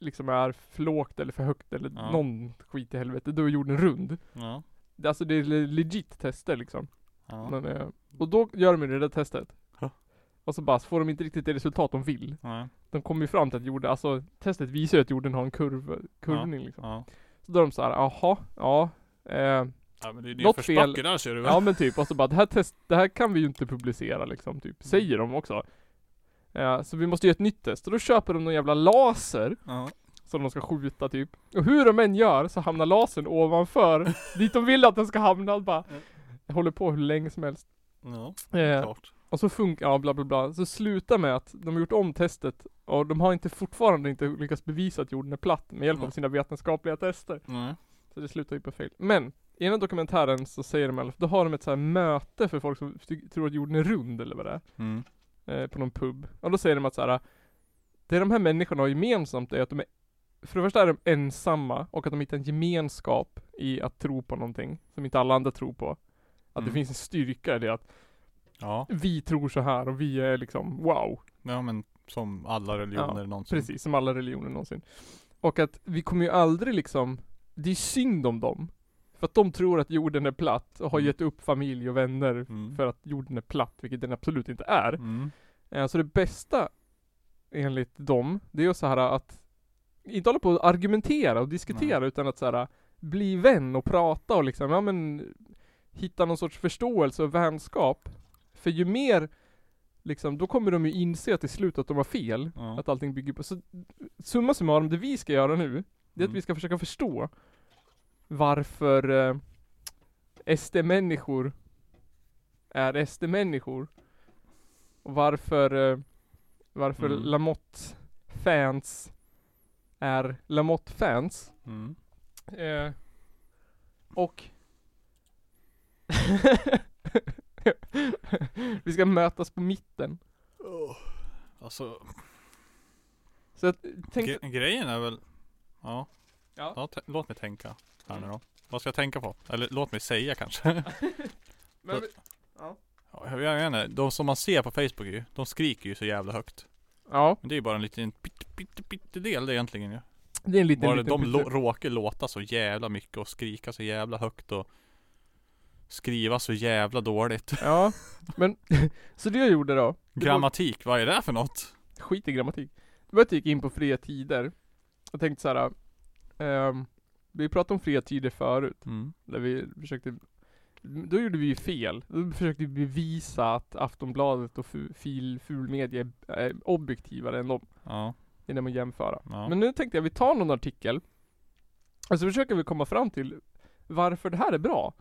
Speaker 3: liksom är för lågt eller för högt eller
Speaker 1: Ja.
Speaker 3: någon skit i helvete, då är jorden rund.
Speaker 1: Ja.
Speaker 3: Det- Alltså det är le- legit tester liksom.
Speaker 1: Ja.
Speaker 3: Men, eh, och då gör de ju det där testet.
Speaker 1: Ja.
Speaker 3: Och så bara, så får de inte riktigt det resultat de vill.
Speaker 1: Nej.
Speaker 3: De kom ju fram till att jorden, alltså testet visar ju att jorden har en kurv, kurvning liksom.
Speaker 1: Ja.
Speaker 3: Så då är de såhär, jaha, ja. Eh,
Speaker 1: ja men det är
Speaker 3: Något
Speaker 1: din
Speaker 3: fel.
Speaker 1: förspacke där ser du väl?
Speaker 3: ja men typ, och så bara det här test, det här kan vi ju inte publicera liksom, typ. Säger de också. Eh, så vi måste göra ett nytt test, och då köper de någon jävla laser
Speaker 1: Ja.
Speaker 3: som de ska skjuta typ. Och hur de än gör så hamnar lasern ovanför dit de vill att den ska hamna. Och bara,
Speaker 1: Mm.
Speaker 3: jag håller på hur länge som helst.
Speaker 1: Ja,
Speaker 3: Eh,
Speaker 1: klart.
Speaker 3: Och så funkar, ja bla bla bla. Så slutar med att de har gjort om testet och de har inte fortfarande inte lyckats bevisa att jorden är platt med hjälp av
Speaker 1: Mm.
Speaker 3: sina vetenskapliga tester.
Speaker 1: Nej.
Speaker 3: Så det slutar ju på fel. Men, i den här dokumentären så säger de i alla fall, då har de ett så här möte för folk som ty- tror att jorden är rund eller vad det
Speaker 1: Mm.
Speaker 3: är. Eh, på någon pub. Och då säger de att så här. Det de här människorna har gemensamt är att de är för det första är de ensamma och att de hittar en gemenskap i att tro på någonting som inte alla andra tror på. Att det
Speaker 1: Mm.
Speaker 3: finns en styrka i det att
Speaker 1: Ja.
Speaker 3: vi tror så här och vi är liksom wow.
Speaker 1: ja, men som alla religioner någonsin.
Speaker 3: Precis, som alla religioner någonsin. Och att vi kommer ju aldrig liksom, det är synd om dem. För att de tror att jorden är platt och har
Speaker 1: Mm.
Speaker 3: gett upp familj och vänner
Speaker 1: Mm.
Speaker 3: för att jorden är platt, vilket den absolut inte är.
Speaker 1: Mm.
Speaker 3: Eh, Så det bästa enligt dem, det är ju så här att inte hålla på och argumentera och diskutera utan att så här bli vän och prata och liksom, ja men hitta någon sorts förståelse och vänskap. För ju mer, liksom, då kommer de ju inse till slut att de har fel.
Speaker 1: Ja.
Speaker 3: Att allting bygger på, så summa summarum, det vi ska göra nu, det är att
Speaker 1: Mm.
Speaker 3: vi ska försöka förstå varför eh, SD-människor är SD-människor. Och varför, eh, varför
Speaker 1: Mm.
Speaker 3: Lamotte-fans är Lamotte-fans.
Speaker 1: Mm.
Speaker 3: Eh, och vi ska mötas på mitten.
Speaker 1: Alltså,
Speaker 3: Så jag tänkte,
Speaker 1: gre- grejen är väl Ja.
Speaker 3: Ja. Mm.
Speaker 1: te- låt mig tänka här nu då. Vad ska jag tänka på? Eller låt mig säga kanske.
Speaker 3: men,
Speaker 1: ja, jag vet inte. De som man ser på Facebook ju, de skriker ju så jävla högt.
Speaker 3: ja.
Speaker 1: Men det är ju bara en liten pitt, pitt, pitt del det egentligen ju.
Speaker 3: Det är en liten,
Speaker 1: Var det
Speaker 3: liten
Speaker 1: de
Speaker 3: pytte-
Speaker 1: lo- råkar låta så jävla mycket och skrika så jävla högt och skriva så jävla dåligt.
Speaker 3: Ja, men så det jag gjorde då. Det var-
Speaker 1: Grammatik, vad är det för något?
Speaker 3: skit i grammatik. Det var att jag gick in på fria tider. Jag tänkte så här. ehm, vi pratade om fria tider förut.
Speaker 1: Mm.
Speaker 3: Där vi försökte, då gjorde vi ju fel. Då försökte vi bevisa att Aftonbladet och fu- fil, fulmedia är är objektivare än dem.
Speaker 1: Ja,
Speaker 3: Genom att jämföra.
Speaker 1: ja.
Speaker 3: Men nu tänkte jag vi tar någon artikel. Och så försöker vi komma fram till varför det här är bra.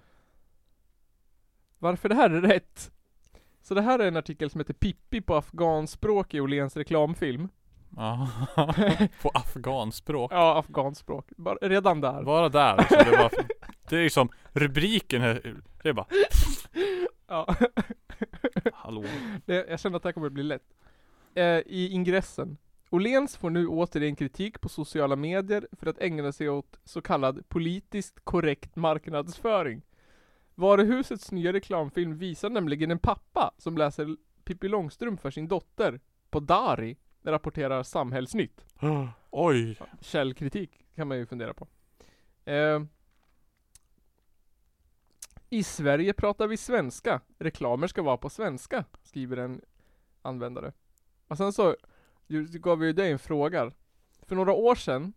Speaker 3: Varför det här är rätt. Så det här är en artikel som heter Pippi på afghanspråk i Åhléns reklamfilm.
Speaker 1: ja. På afghanspråk.
Speaker 3: Ja, afghanspråk. Bara, redan där.
Speaker 1: Bara där alltså, det, var, det är ju som rubriken här, det är bara
Speaker 3: Ja.
Speaker 1: Hallå?
Speaker 3: Det, jag känner att det här kommer bli lätt. Eh, I ingressen. Åhléns får nu återigen kritik på sociala medier för att ägna sig åt så kallad politiskt korrekt marknadsföring. Varuhusets nya reklamfilm visar nämligen en pappa som läser Pippi Långstrump för sin dotter på Dari, rapporterar Samhällsnytt.
Speaker 1: Oj!
Speaker 3: Källkritik kan man ju fundera på. Eh, I Sverige pratar vi svenska. Reklamer ska vara på svenska, skriver en användare. Och sen så ju- gav vi ju dig en fråga. För några år sedan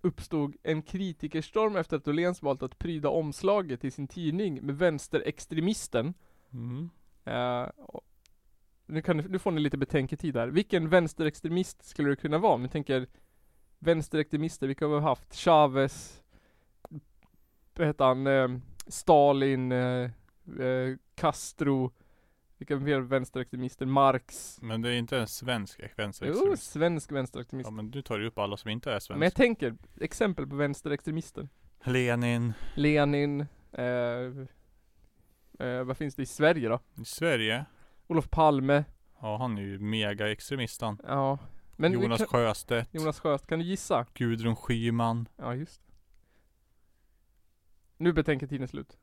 Speaker 3: uppstod en kritikerstorm efter att Åhléns valt att pryda omslaget till sin tidning med vänsterextremisten
Speaker 1: Mm.
Speaker 3: Eh, och- nu, kan, ni- nu får ni lite betänketid här. Vilken vänsterextremist skulle det kunna vara? Om ni tänker vänsterextremister, vilka har vi haft? Chavez, vad heter han? Eh, Stalin, eh, eh, Castro, vilka mer vänsterextremister? Marx.
Speaker 1: Men det är inte en svensk vänsterextremist.
Speaker 3: Jo, svensk vänsterextremist.
Speaker 1: Ja men du tar ju upp alla som inte är
Speaker 3: men jag
Speaker 1: svensk.
Speaker 3: tänker, exempel på vänsterextremister.
Speaker 1: Lenin.
Speaker 3: Lenin, eh, eh, vad finns det i Sverige då?
Speaker 1: I Sverige.
Speaker 3: Olof Palme,
Speaker 1: Ja han är ju megaextremist han.
Speaker 3: ja. Men vi
Speaker 1: Jonas
Speaker 3: kan,
Speaker 1: Sjöstedt.
Speaker 3: Jonas Sjöstedt, kan du gissa?
Speaker 1: Gudrun Schyman.
Speaker 3: Ja, just det. Nu betänker tiden slut.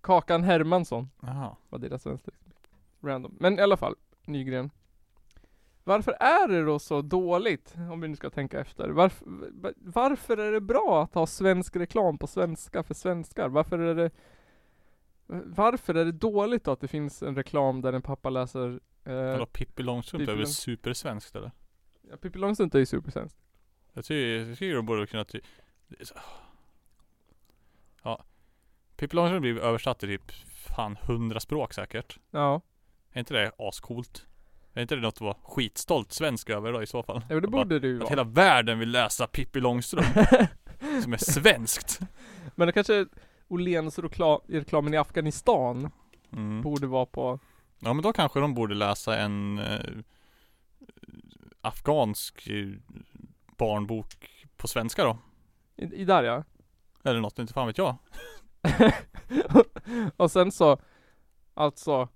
Speaker 3: Kakan Hermansson
Speaker 1: Jaha.
Speaker 3: var deras vänster. Random. Men i alla fall, Nygren. Varför är det då så dåligt, om vi nu ska tänka efter? Varför, varför är det bra att ha svensk reklam på svenska för svenskar? Varför är det varför är det dåligt då att det finns en reklam där en pappa läser eh,
Speaker 1: Vadå Pippi Långstrump
Speaker 3: Pippi
Speaker 1: är väl
Speaker 3: Lång-
Speaker 1: supersvenskt eller?
Speaker 3: ja, Pippi Långstrump är ju supersvensk.
Speaker 1: Jag tycker, jag tycker de borde kunna ty- det är så- Ja. Pippi Långstrump blir översatt till typ fan hundra språk säkert.
Speaker 3: Ja,
Speaker 1: Är inte det ascoolt? Är inte det något att vara skitstolt svensk över då i så fall?
Speaker 3: ja, det
Speaker 1: Att bara-
Speaker 3: borde det ju
Speaker 1: Att
Speaker 3: vara.
Speaker 1: hela världen vill läsa Pippi Långstrump som är svenskt.
Speaker 3: Men det kanske Åhléns rekla- reklamen i Afghanistan
Speaker 1: Mm.
Speaker 3: borde vara på
Speaker 1: Ja men då kanske de borde läsa en eh, afghansk eh, barnbok på svenska då.
Speaker 3: i, i där ja.
Speaker 1: Eller något, inte fan vet jag.
Speaker 3: och sen så, alltså,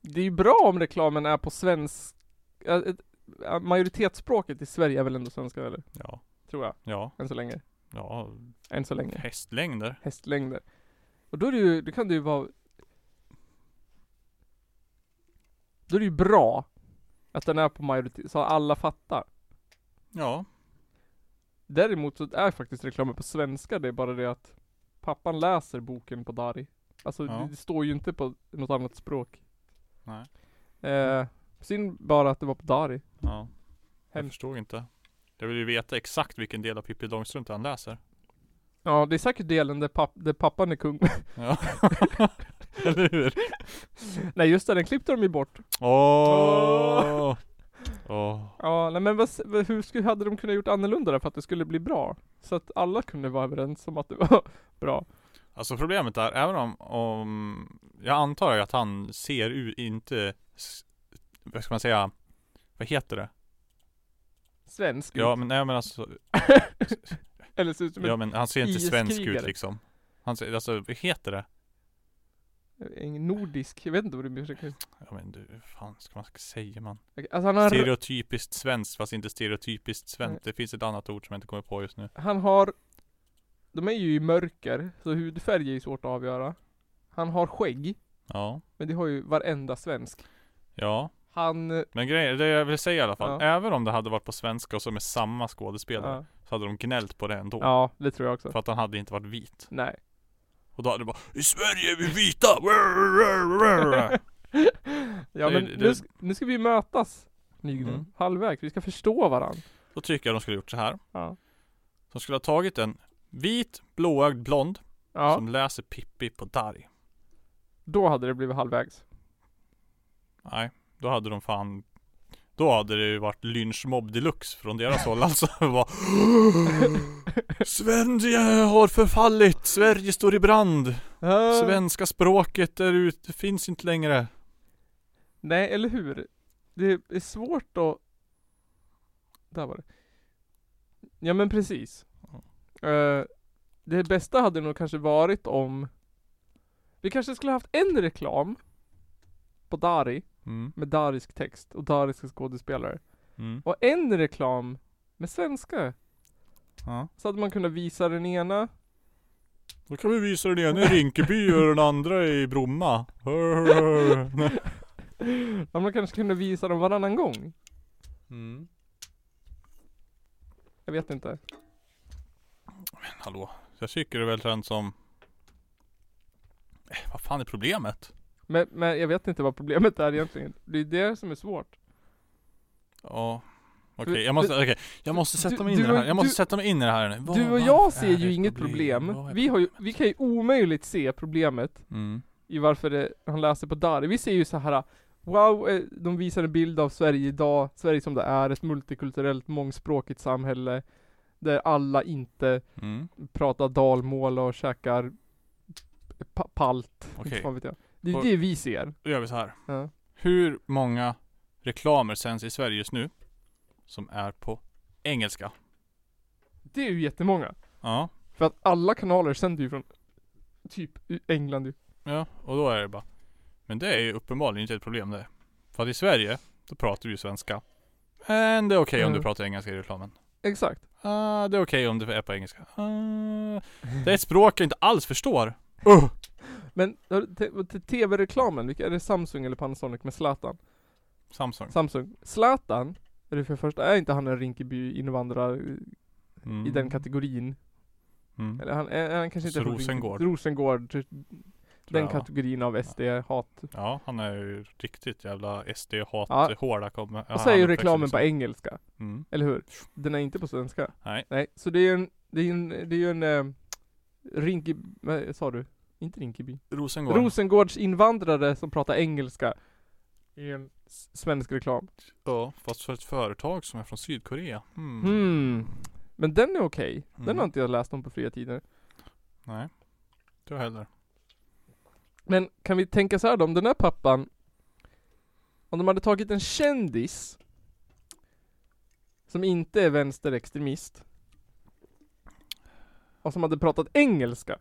Speaker 3: det är ju bra om reklamen är på svensk, eh, ett- eh, majoritetsspråket i Sverige är väl ändå svenska eller?
Speaker 1: Ja,
Speaker 3: Tror jag,
Speaker 1: ja,
Speaker 3: än så länge.
Speaker 1: ja.
Speaker 3: Än så länge.
Speaker 1: Hästlängder.
Speaker 3: Hästlängder. Och då är det ju, då kan det ju vara Då är det ju bra att den är på majoritet, så alla fattar.
Speaker 1: Ja.
Speaker 3: Däremot så är faktiskt reklamen på svenska, det är bara det att pappan läser boken på Dari. Alltså
Speaker 1: Ja.
Speaker 3: det, det står ju inte på något annat språk.
Speaker 1: Nej.
Speaker 3: Eh, synd bara att det var på Dari.
Speaker 1: Ja. Jag
Speaker 3: Hemskt.
Speaker 1: förstod inte. Jag vill ju veta exakt vilken del av Pippi Långstrump han läser.
Speaker 3: Ja, det är säkert delen där, papp, där pappan är kung.
Speaker 1: Ja. Eller hur?
Speaker 3: nej just det, den klippte de ju bort.
Speaker 1: Åh! Åh.
Speaker 3: Ja, nej men vad, s- vad- hur skulle, hade de kunnat gjort annorlunda där för att det skulle bli bra? Så att alla kunde vara överens om att det var bra.
Speaker 1: Alltså problemet är, även om, om jag antar ju att han ser ut, inte, s- vad ska man säga, vad heter det?
Speaker 3: Svensk
Speaker 1: Ja men nej men alltså,
Speaker 3: Eller ser ut som
Speaker 1: ja men han ser inte svensk ut
Speaker 3: iskrigare.
Speaker 1: liksom. Han ser, alltså vad heter det?
Speaker 3: en, en nordisk, jag vet inte vad du försöker
Speaker 1: Ja men du, fan ska man säga man?
Speaker 3: Alltså han har
Speaker 1: Stereotypiskt svenskt fast inte stereotypiskt svenskt. Det finns ett annat ord som jag inte kommer på just nu.
Speaker 3: Han har De är ju i mörker, så hudfärg är ju svårt att avgöra Han har skägg
Speaker 1: Ja,
Speaker 3: Men det har ju varenda svensk
Speaker 1: ja.
Speaker 3: Han... eh,
Speaker 1: Men grejen, det jag vill säga i alla fall,
Speaker 3: Ja.
Speaker 1: även om det hade varit på svenska och som är samma skådespelare,
Speaker 3: Ja.
Speaker 1: så hade de gnällt på det ändå.
Speaker 3: ja, det tror jag också.
Speaker 1: För att han hade inte varit vit.
Speaker 3: Nej.
Speaker 1: Och då hade det bara I Sverige är vi vita!
Speaker 3: Ja
Speaker 1: Det är-
Speaker 3: men
Speaker 1: det-
Speaker 3: nu, sk- nu ska vi mötas Nygren.
Speaker 1: Mm.
Speaker 3: Halvvägs. Vi ska förstå varandra.
Speaker 1: Då tycker jag de skulle ha gjort så här.
Speaker 3: Ja.
Speaker 1: De skulle ha tagit en vit, blåögd blond
Speaker 3: Ja,
Speaker 1: som läser Pippi på Dari.
Speaker 3: då hade det blivit halvvägs.
Speaker 1: Nej, då hade de fan Då hade det ju varit lynchmobb deluxe från deras håll alltså. Det var, Sverige har förfallit, Sverige står i brand. Svenska språket är ut, det finns inte längre.
Speaker 3: Nej, eller hur? Det är svårt att... Där var det. Ja men precis. Eh, det bästa hade nog kanske varit om... Vi kanske skulle haft en reklam på Dari
Speaker 1: Mm,
Speaker 3: med darisk text och dariska skådespelare.
Speaker 1: mm,
Speaker 3: Och en reklam med svenska.
Speaker 1: ja.
Speaker 3: Så hade man kunnat visa den ena.
Speaker 1: Då kan vi visa den ena i Rinkeby och den andra i Bromma.
Speaker 3: Ja, man kanske kunde visa dem varannan gång.
Speaker 1: Mm.
Speaker 3: Jag vet inte.
Speaker 1: Hallå, jag tycker det är väl den som... Eh, vad fan är problemet?
Speaker 3: Men, men jag vet inte vad problemet är egentligen. Det är det som är svårt.
Speaker 1: Ja, okej
Speaker 3: Du-
Speaker 1: jag måste,
Speaker 3: du-
Speaker 1: okej jag måste sätta
Speaker 3: du-
Speaker 1: mig in i
Speaker 3: du
Speaker 1: det här,
Speaker 3: och-
Speaker 1: jag måste
Speaker 3: du-
Speaker 1: sätta mig in i det här nu. Vad-
Speaker 3: Du och
Speaker 1: vad
Speaker 3: jag ser
Speaker 1: är
Speaker 3: ju
Speaker 1: det
Speaker 3: inget
Speaker 1: problem?
Speaker 3: problem.
Speaker 1: Vad är
Speaker 3: Vi, har ju, vi kan ju omöjligt se problemet
Speaker 1: Mm.
Speaker 3: i varför det, han läser på Dari. Vi ser ju så här. Wow, eh, de visar en bild av Sverige idag. Sverige som det är, ett multikulturellt, mångspråkigt samhälle. Där alla inte
Speaker 1: Mm.
Speaker 3: pratar dalmål och käkar pa- palt.
Speaker 1: Okej,
Speaker 3: Inte fan vet jag. Det är
Speaker 1: Och-
Speaker 3: det vi ser.
Speaker 1: då gör vi så här.
Speaker 3: Ja.
Speaker 1: Hur många reklamer sänds i Sverige just nu? Som är på engelska?
Speaker 3: Det är ju jättemånga.
Speaker 1: Ja,
Speaker 3: För att alla kanaler sänder ju från typ i England ju.
Speaker 1: ja, och då är det bara. Men det är ju uppenbarligen inte ett problem det. För att i Sverige, då pratar vi ju svenska. Men det är okej om du
Speaker 3: Mm.
Speaker 1: pratar engelska i reklamen.
Speaker 3: Exakt.
Speaker 1: Ah, det är okej om det är på engelska. Ah, det är ett språk jag inte alls förstår. Uh,
Speaker 3: Men har du te- till tv-reklamen, vilka är det Samsung eller Panasonic med Zlatan?
Speaker 1: Samsung.
Speaker 3: Samsung. Zlatan, är det för det första, är inte han en Rinkeby invandrare
Speaker 1: Mm.
Speaker 3: i den kategorin?
Speaker 1: Mm.
Speaker 3: Eller han, är, är han kanske inte
Speaker 1: Så
Speaker 3: från Rinkeby?
Speaker 1: Rosengård.
Speaker 3: Rosengård, ty-
Speaker 1: Tror
Speaker 3: den
Speaker 1: jag, va?
Speaker 3: kategorin av SD-hat.
Speaker 1: Ja, han är ju riktigt jävla
Speaker 3: Ja.
Speaker 1: SD-hat-hårda. Ja.
Speaker 3: Och så är ju reklamen på engelska,
Speaker 1: Mm.
Speaker 3: eller hur? Den är inte på svenska.
Speaker 1: Nej.
Speaker 3: Nej, så det är ju en, det är ju en, det är ju en eh, Rinkeby, vad sa du? Inte Rinkeby?
Speaker 1: Rosengård.
Speaker 3: Rosengårds invandrare som pratar engelska i en s- svensk reklam.
Speaker 1: ja, fast för ett företag som är från Sydkorea. Mm.
Speaker 3: Hmm. Men den är okej. Den
Speaker 1: Mm.
Speaker 3: har inte jag läst om på fria tider.
Speaker 1: Nej. Inte jag heller.
Speaker 3: Men kan vi tänka så här då, om den här pappan Om de hade tagit en kändis Som inte är vänsterextremist Och som hade pratat engelska.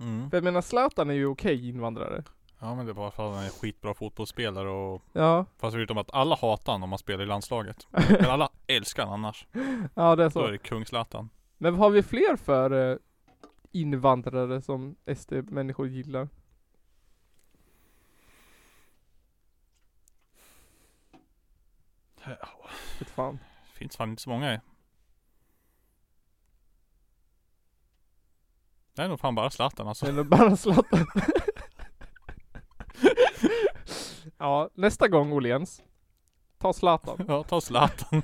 Speaker 1: Mm.
Speaker 3: För jag menar Zlatan är ju okej invandrare.
Speaker 1: Ja men det var för att han är en skitbra fotbollsspelare och
Speaker 3: Ja.
Speaker 1: Fast förutom att alla hatar honom om han spelar i landslaget. Men alla älskar honom annars.
Speaker 3: ja, det är
Speaker 1: Då är
Speaker 3: så.
Speaker 1: det kung Zlatan.
Speaker 3: Men vad har vi fler för eh, invandrare som SD-människor gillar?
Speaker 1: Ja,
Speaker 3: Vet fan.
Speaker 1: Finns fan inte så många i. Det är nog fan bara Zlatan alltså.
Speaker 3: Eller bara Zlatan. ja, nästa gång Åhléns. Ta Zlatan.
Speaker 1: Ja, ta Zlatan.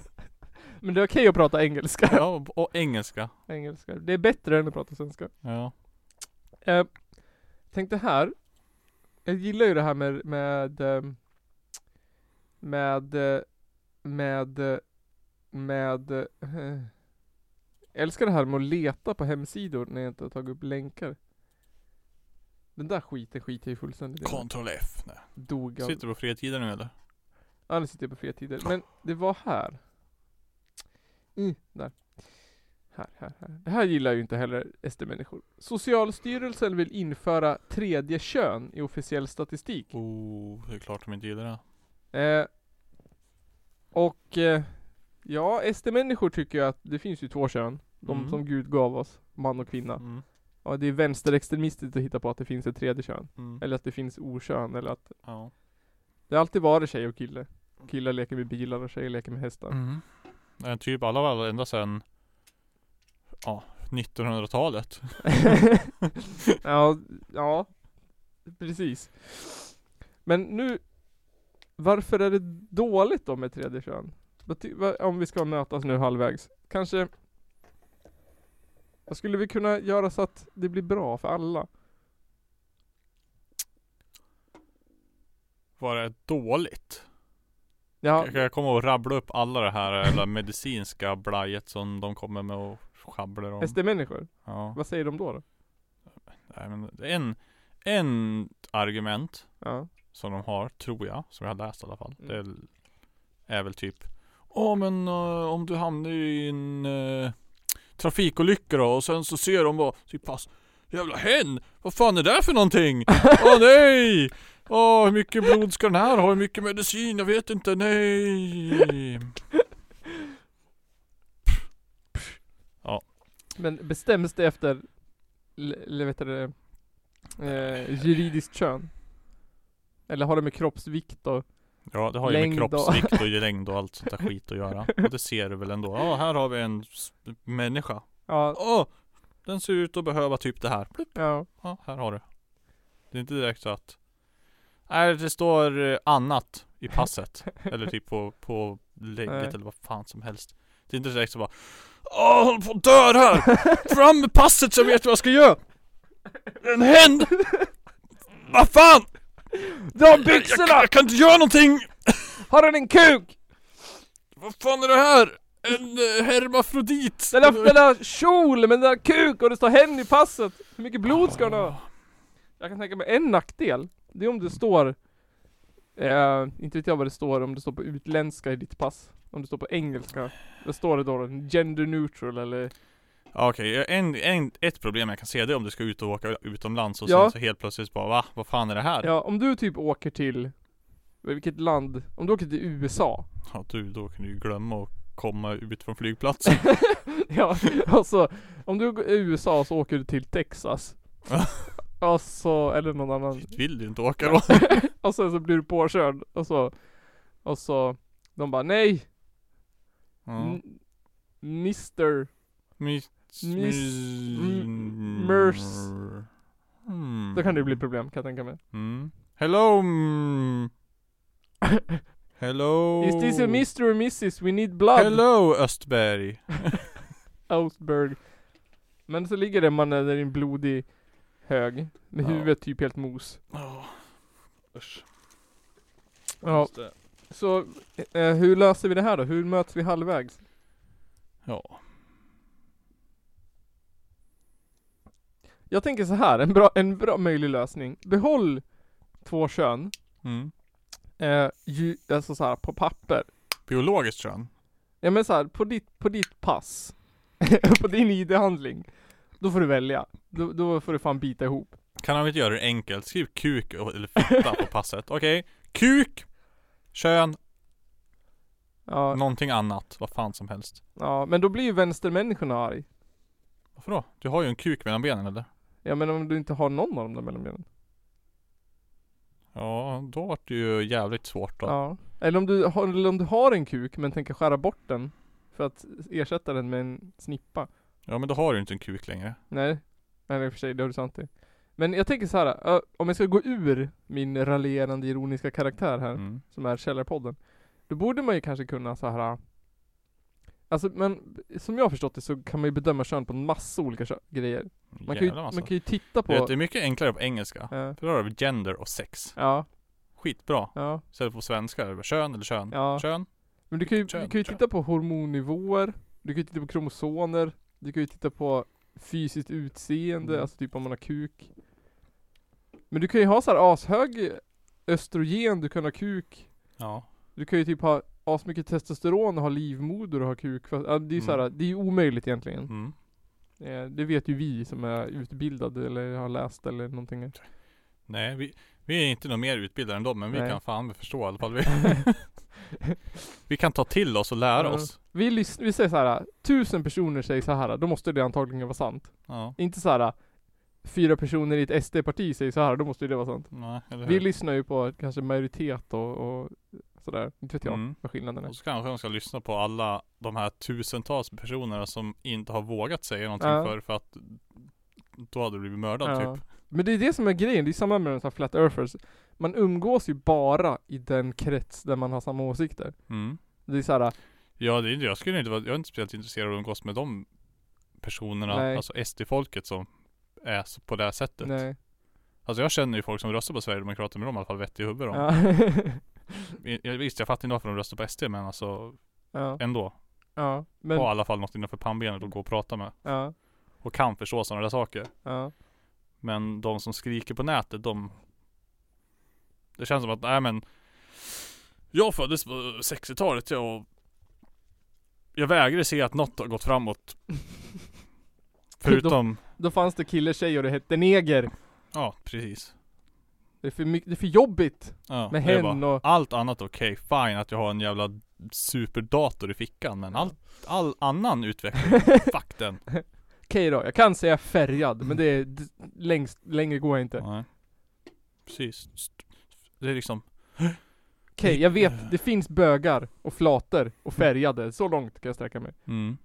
Speaker 3: Men det är okej att prata engelska.
Speaker 1: Ja, och- och engelska.
Speaker 3: engelska. Det är bättre än att prata svenska.
Speaker 1: Ja.
Speaker 3: Eh, tänk det här. Jag gillar ju det här med med eh, med eh, med eh, med eh, jag älskar det här med att leta på hemsidor när jag inte har tagit upp länkar. Den där skiten skiter jag ju fullständigt i.
Speaker 1: Ctrl F. Nej.
Speaker 3: Dog av
Speaker 1: Sitter du på fritiden nu eller?
Speaker 3: Ja, nu sitter jag på fria tider. Men det var här. I, där. Här, här, här. Det här gillar ju inte heller SD-människor. Socialstyrelsen vill införa tredje kön i officiell statistik.
Speaker 1: Oh, det är klart de inte gillar det.
Speaker 3: Eh, och eh, ja, SD-människor tycker ju att det finns ju två kön. De
Speaker 1: Mm.
Speaker 3: som Gud gav oss, man och kvinna.
Speaker 1: Mm.
Speaker 3: Ja, det är vänsterextremistiskt att hitta på att det finns ett tredje kön.
Speaker 1: Mm.
Speaker 3: Eller att det finns okön, eller att
Speaker 1: Ja.
Speaker 3: Det har alltid varit tjej och kille. Killar leker med bilar och tjejer leker med hästar.
Speaker 1: Mm. Eh, Typ alla var ända sedan Ja, 1900-talet.
Speaker 3: ja, ja, precis. Men nu, varför är det dåligt då med tredje kön? Vad ty- vad- Om vi ska mötas nu halvvägs. Kanske, vad skulle vi kunna göra så att det blir bra för alla?
Speaker 1: Var det dåligt?
Speaker 3: Ja,
Speaker 1: Jag kan komma och rabbla upp alla det här eller medicinska blajet som de kommer med och sjabblar om.
Speaker 3: SD-människor,
Speaker 1: Ja.
Speaker 3: vad säger de då? då?
Speaker 1: Nej, men det är en, en argument
Speaker 3: Ja.
Speaker 1: som de har, tror jag, som jag har läst i alla fall.
Speaker 3: Mm.
Speaker 1: Det är, är väl typ Ja men eh, om du hamnar i en uh, trafikolycka då och sen så ser de bara typ pass Jävla hen! Vad fan är det för någonting? Åh nej! Åh hur mycket blod ska den här ha? Hur mycket medicin? Jag vet inte, nej!
Speaker 3: Men bestäms det efter, le- eller vet du det, eh, juridiskt kön? Eller har det med kroppsvikt och
Speaker 1: Ja det har ju med
Speaker 3: Längd och-
Speaker 1: kroppsvikt och längd och allt sånt där skit att göra. Och det ser du väl ändå. Ja här har vi en s- människa.
Speaker 3: Ja,
Speaker 1: Åh! Den ser ut att behöva typ det här. Plupp.
Speaker 3: ja.
Speaker 1: Ja, här har du. Det är inte direkt så att... Nej, det står eh, annat i passet. Eller typ på, på
Speaker 3: Nej.
Speaker 1: lägget eller vad fan som helst. Det är inte direkt så bara Åh, jag håller på att dö här! Fram med passet så jag vet vad jag ska göra! En händ! Vad fan!
Speaker 3: De
Speaker 1: Jag,
Speaker 3: byxorna!
Speaker 1: jag kan inte göra någonting!
Speaker 3: Har den en kuk?
Speaker 1: Vad fan är det här? En eh, hermafrodit!
Speaker 3: Den har, den har kjol men den har kuk och det står hen i passet! Hur mycket blod ska den ha? Jag kan tänka mig en nackdel, det är om det står eh, inte vet jag vad det står om det står på utländska i ditt pass. Om det står på engelska. Vad står det då? Gender neutral eller?
Speaker 1: Ja, Okej, en, en, ett problem jag kan se det är om du ska ut och åka utomlands och
Speaker 3: Ja.
Speaker 1: sen så helt plötsligt bara va? Vad fan är det här?
Speaker 3: Ja, om du typ åker till Vilket land? Om du åker till USA
Speaker 1: Ja du, då kan du ju glömma att komma ut från flygplatsen.
Speaker 3: Ja, alltså Om du går i USA så åker du till Texas
Speaker 1: Ja.
Speaker 3: Alltså, eller någon annan
Speaker 1: Dit vill du inte åka då.
Speaker 3: Och sen så blir du påkörd och så Och så De bara nej
Speaker 1: Ja.
Speaker 3: n- Mister
Speaker 1: Miss...
Speaker 3: Mm. Miss- m- mers.
Speaker 1: Mm.
Speaker 3: Då kan det bli problem kan jag tänka mig
Speaker 1: Mm. Hello! Mm. Hello!
Speaker 3: Is this a Mr or Mrs? We need blood
Speaker 1: Oh. Hello Östberg!
Speaker 3: Ausberg Men så ligger det mannen där i en blodig hög Med
Speaker 1: Ja.
Speaker 3: huvudet typ helt mos
Speaker 1: Oh. Usch.
Speaker 3: Ja
Speaker 1: Just det.
Speaker 3: Så eh, hur löser vi det här då? Hur möts vi halvvägs?
Speaker 1: Ja.
Speaker 3: Jag tänker så här, en bra, en bra möjlig lösning. Behåll två kön,
Speaker 1: Mm.
Speaker 3: eh, ju, alltså så här, på papper.
Speaker 1: Biologiskt kön.
Speaker 3: Ja men så här, på ditt, på ditt pass, på din ID-handling, då får du välja. Då, då får du fan bita ihop.
Speaker 1: Kan han inte göra det enkelt? Skriv kuk och- eller fitta på passet. Okej. Kuk! Kön,
Speaker 3: Ja,
Speaker 1: någonting annat. Vad fan som helst.
Speaker 3: ja men då blir ju vänstermänniskorna arg.
Speaker 1: Varför då? Du har ju en kuk mellan benen eller?
Speaker 3: Ja men om du inte har någon av dem där mellan benen.
Speaker 1: Ja, då vart det ju jävligt svårt då.
Speaker 3: Ja. Eller om du, har, eller om du har en kuk men tänker skära bort den för att ersätta den med en snippa.
Speaker 1: Ja men då har du inte en kuk längre.
Speaker 3: Nej, nej i och för sig, det har du sant i. Men jag tänker så här, ö, om jag ska gå ur min raljerande ironiska karaktär här,
Speaker 1: Mm.
Speaker 3: som är Källarpodden. Då borde man ju kanske kunna så här. äh, Alltså men som jag har förstått det så kan man ju bedöma kön på en massa olika kö- grejer. Man kan, ju,
Speaker 1: Jävlar
Speaker 3: man
Speaker 1: massa.
Speaker 3: kan ju titta på...
Speaker 1: Du vet, det är typ- mycket enklare på engelska.
Speaker 3: eh,
Speaker 1: För då har du gender och sex.
Speaker 3: ja,
Speaker 1: Skitbra.
Speaker 3: ja,
Speaker 1: Istället på svenska är det bara kön eller kön.
Speaker 3: ja.
Speaker 1: Kön.
Speaker 3: Men du kan ju,
Speaker 1: Kön,
Speaker 3: du kan ju
Speaker 1: kön.
Speaker 3: titta på hormonnivåer, du kan ju titta på kromosomer, du kan ju titta på fysiskt utseende,
Speaker 1: Mm.
Speaker 3: alltså typ om man har kuk. Men du kan ju ha så här ashög östrogen, du kan ha kuk,
Speaker 1: Ja.
Speaker 3: du kan ju typ ha asmycket testosteron och ha livmoder och ha kuk. Fast, ja, det är ju så här, det är ju omöjligt egentligen.
Speaker 1: Mm.
Speaker 3: Eh, Det vet ju vi som är utbildade eller har läst eller någonting.
Speaker 1: Nej, vi, vi är inte nog mer utbildade än dem, men vi
Speaker 3: Nej.
Speaker 1: kan fan förstå i alla fall. Vi, vi kan ta till oss och lära
Speaker 3: Ja.
Speaker 1: oss.
Speaker 3: Vi, lyssn- vi säger så här, tusen personer säger så här, då måste det antagligen vara sant.
Speaker 1: Ja.
Speaker 3: Inte så här fyra personer i ett SD-parti säger så här, då måste ju det vara sant.
Speaker 1: Nej, eller hur?
Speaker 3: Vi lyssnar ju på kanske majoritet och, och sådär. Inte vet jag
Speaker 1: Mm.
Speaker 3: vad skillnaden är.
Speaker 1: Och så kanske de ska lyssna på alla de här tusentals personerna som inte har vågat säga någonting
Speaker 3: Ja.
Speaker 1: förr för att då hade du blivit mördad
Speaker 3: Ja.
Speaker 1: typ.
Speaker 3: Men det är det som är grejen, det är samma med de här flat earthers. Man umgås ju bara i den krets där man har samma åsikter.
Speaker 1: Mm.
Speaker 3: Det är såhär,
Speaker 1: Ja, det, är- jag skulle inte vara, jag är inte speciellt intresserad av att umgås med de personerna,
Speaker 3: Nej.
Speaker 1: alltså SD-folket som är så- på det här sättet.
Speaker 3: nej.
Speaker 1: Alltså jag känner ju folk som röstar på Sverigedemokraterna, men de är i alla fall vettiga i huvudet.
Speaker 3: Ja.
Speaker 1: I- jag- Visst, jag fattar inte varför de röstar på SD, men alltså
Speaker 3: ja.
Speaker 1: ändå.
Speaker 3: ja.
Speaker 1: Ha i
Speaker 3: Men,
Speaker 1: alla fall något innanför pannbenet att gå och prata med.
Speaker 3: ja.
Speaker 1: Och kan förstå sådana där saker.
Speaker 3: Ja.
Speaker 1: Men de som skriker på nätet, de Det känns som att, nej men Jag föddes på 60-talet jag och Jag vägrar se att något har gått framåt Förutom,
Speaker 3: Då fanns det kille tjej och det hette neger.
Speaker 1: ja precis
Speaker 3: Det är för, mycket, det är för jobbigt
Speaker 1: ja,
Speaker 3: med
Speaker 1: det är
Speaker 3: hen
Speaker 1: bara,
Speaker 3: och...
Speaker 1: Allt annat okej, fine att jag har en jävla superdator i fickan men allt, all annan utveckling, fuck den
Speaker 3: Okej då, jag kan säga färgad men det är d- längst, längre går jag inte.
Speaker 1: Nej. Precis Det är liksom
Speaker 3: Okej, jag vet, det finns bögar och flator och färgade. Så långt kan jag sträcka mig.
Speaker 1: mm.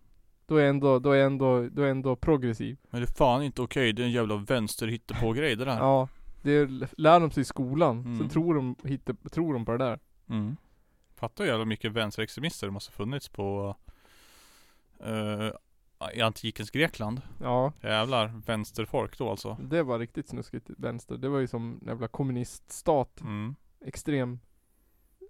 Speaker 3: Då är jag ändå, då är jag ändå, då är jag ändå progressiv.
Speaker 1: Men det är fan inte okej, det är en jävla vänster på grej det där
Speaker 3: Ja. Det lär de sig i skolan,
Speaker 1: Mm.
Speaker 3: sen tror de, hittar, tror de på det där.
Speaker 1: Mm. Fattar ju jävla mycket vänsterextremister det måste ha funnits på eh, I antikens Grekland
Speaker 3: Ja,
Speaker 1: Jävlar vänsterfolk då alltså
Speaker 3: det var riktigt snuskigt vänster. Det var ju som en jävla kommuniststat.
Speaker 1: mm.
Speaker 3: Extrem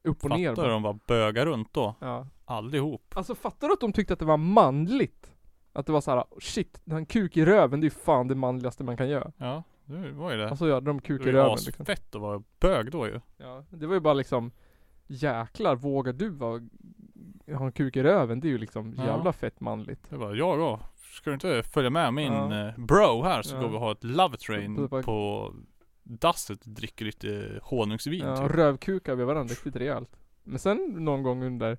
Speaker 3: upp och ner.
Speaker 1: Fattar
Speaker 3: bara.
Speaker 1: de bara bögar runt då
Speaker 3: Ja.
Speaker 1: Allihop
Speaker 3: Alltså fattar du att de tyckte att det var manligt? Att det var så här: shit, han har en kuk i röven, det är ju fan det manligaste man kan göra.
Speaker 1: Ja det var ju det
Speaker 3: Alltså gör de
Speaker 1: Det
Speaker 3: kuk
Speaker 1: var
Speaker 3: i
Speaker 1: ju
Speaker 3: röven liksom.
Speaker 1: asfett att vara bög då ju
Speaker 3: Ja, det var ju bara liksom Jäklar, vågar du vara- ha en kuk i röven? Det är ju liksom
Speaker 1: Ja.
Speaker 3: jävla fett manligt.
Speaker 1: Det var jag då Ska du inte följa med min
Speaker 3: Ja.
Speaker 1: eh, bro här så
Speaker 3: Ja.
Speaker 1: går vi och har ett love
Speaker 3: Så
Speaker 1: train
Speaker 3: bara-
Speaker 1: på dasset och dricker lite honungsvin
Speaker 3: Ja,
Speaker 1: typ.
Speaker 3: rövkukar vid varandra riktigt rejält. Men sen någon gång under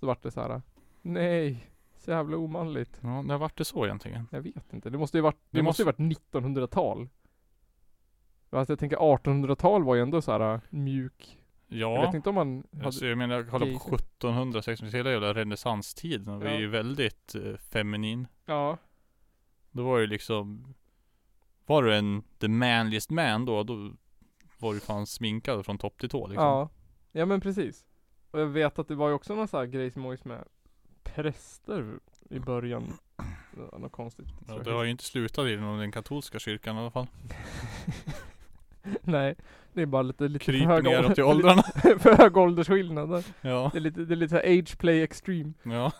Speaker 3: så vart det så här. Nej, så jävla omanligt.
Speaker 1: Ja, när vart det så egentligen?
Speaker 3: Jag vet inte, det måste ju varit, det,
Speaker 1: Det
Speaker 3: måste ju varit 1900-tal. Alltså jag tänker 1800-tal var ju ändå så här äh, mjuk. Jag
Speaker 1: Ja
Speaker 3: vet inte om man hade...
Speaker 1: Alltså, jag menar, jag kollar på
Speaker 3: Gaysen.
Speaker 1: 1700, 1600, hela jävla renässanstiden. Vi är ju väldigt eh, feminin.
Speaker 3: Ja,
Speaker 1: Då var ju liksom Var du en the manliest man då, då var du fan sminkad från topp till tå liksom.
Speaker 3: ja. Ja men precis. Och jag vet att det var ju också någon sån här grej som var just med präster i början. Det var något konstigt.
Speaker 1: Ja, det har ju inte slutat inom den katolska kyrkan i alla fall.
Speaker 3: Nej, det är bara lite, lite för
Speaker 1: Kryper
Speaker 3: hög ålder-
Speaker 1: neråt i åldrarna.
Speaker 3: för hög åldersskillnad.
Speaker 1: Ja,
Speaker 3: Det är lite, det är lite så här age play extreme.
Speaker 1: ja.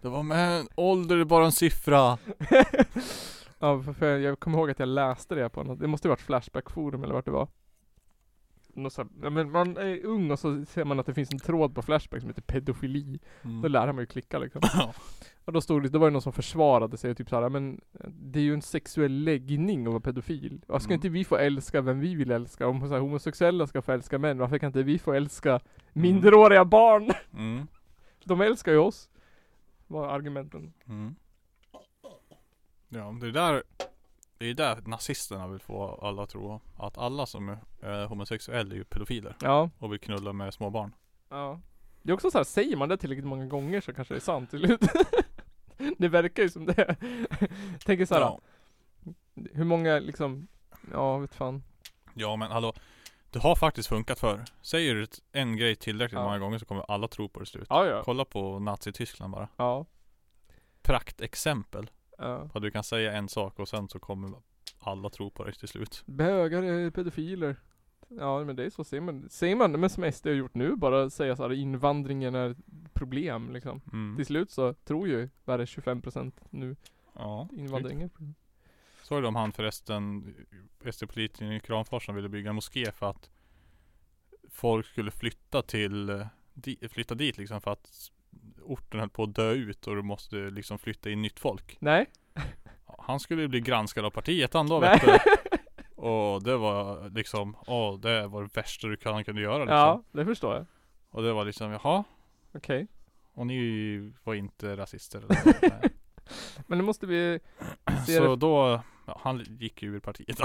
Speaker 1: Det var med ålder är bara en siffra.
Speaker 3: ja, för, för jag kommer ihåg att jag läste det på något, det måste ju varit Flashback-forum eller vart det var. Något så här, ja, men man är ung och så ser man att det finns en tråd på Flashback som heter pedofili. Då
Speaker 1: Mm.
Speaker 3: lär man ju klicka liksom.
Speaker 1: Ja.
Speaker 3: Och då stod det, då var det någon som försvarade sig och typ såhär, men det är ju en sexuell läggning att vara pedofil. Varför ska
Speaker 1: Mm.
Speaker 3: inte vi få älska vem vi vill älska? Om så här, homosexuella ska få älska män, varför kan inte vi få älska minderåriga barn?
Speaker 1: Mm.
Speaker 3: De älskar ju oss. Var argumenten.
Speaker 1: Mm. Ja, det är där Det är där nazisterna vill få alla att tro att alla som är eh, homosexuella är ju pedofiler
Speaker 3: Ja.
Speaker 1: och vill knulla med småbarn.
Speaker 3: Ja. Det är också så här, säger man det tillräckligt många gånger så kanske det är sant till slut. det verkar ju som det. Tänker så här,
Speaker 1: Ja.
Speaker 3: hur många liksom, ja vet fan.
Speaker 1: ja, men hallå. Det har faktiskt funkat förr. Säger du ett- en grej tillräckligt
Speaker 3: Ja.
Speaker 1: många gånger så kommer alla tro på det i slut.
Speaker 3: Ja ja.
Speaker 1: Kolla på Nazityskland bara.
Speaker 3: Ja.
Speaker 1: Praktexempel.
Speaker 3: ja.
Speaker 1: Att du kan säga en sak och sen så kommer alla tro på det till slut.
Speaker 3: Bögar är pedofiler. Ja men det är så ser man, ser man, men som SD har gjort nu bara säga så här, invandringen är ett problem liksom.
Speaker 1: Mm.
Speaker 3: Till slut så tror ju, vad är det, 25% nu,
Speaker 1: Ja.
Speaker 3: invandringen. är ett problem.
Speaker 1: Såg du om han förresten, SD-politikern i Kramfors som ville bygga en moské för att folk skulle flytta till, eh, di, flytta dit liksom för att orten höll på att dö ut och du måste liksom flytta in nytt folk.
Speaker 3: Nej.
Speaker 1: Ja, Han skulle ju bli granskad av partiet han då
Speaker 3: Nej.
Speaker 1: vet du. Och det var liksom, åh det var det värsta du kan, kunde göra liksom.
Speaker 3: Ja, det förstår jag.
Speaker 1: Och det var liksom, jaha,
Speaker 3: Okej.
Speaker 1: och ni var inte rasister eller något. Nej.
Speaker 3: Men nu måste vi se det
Speaker 1: Så då, Ja, han gick ju ur partiet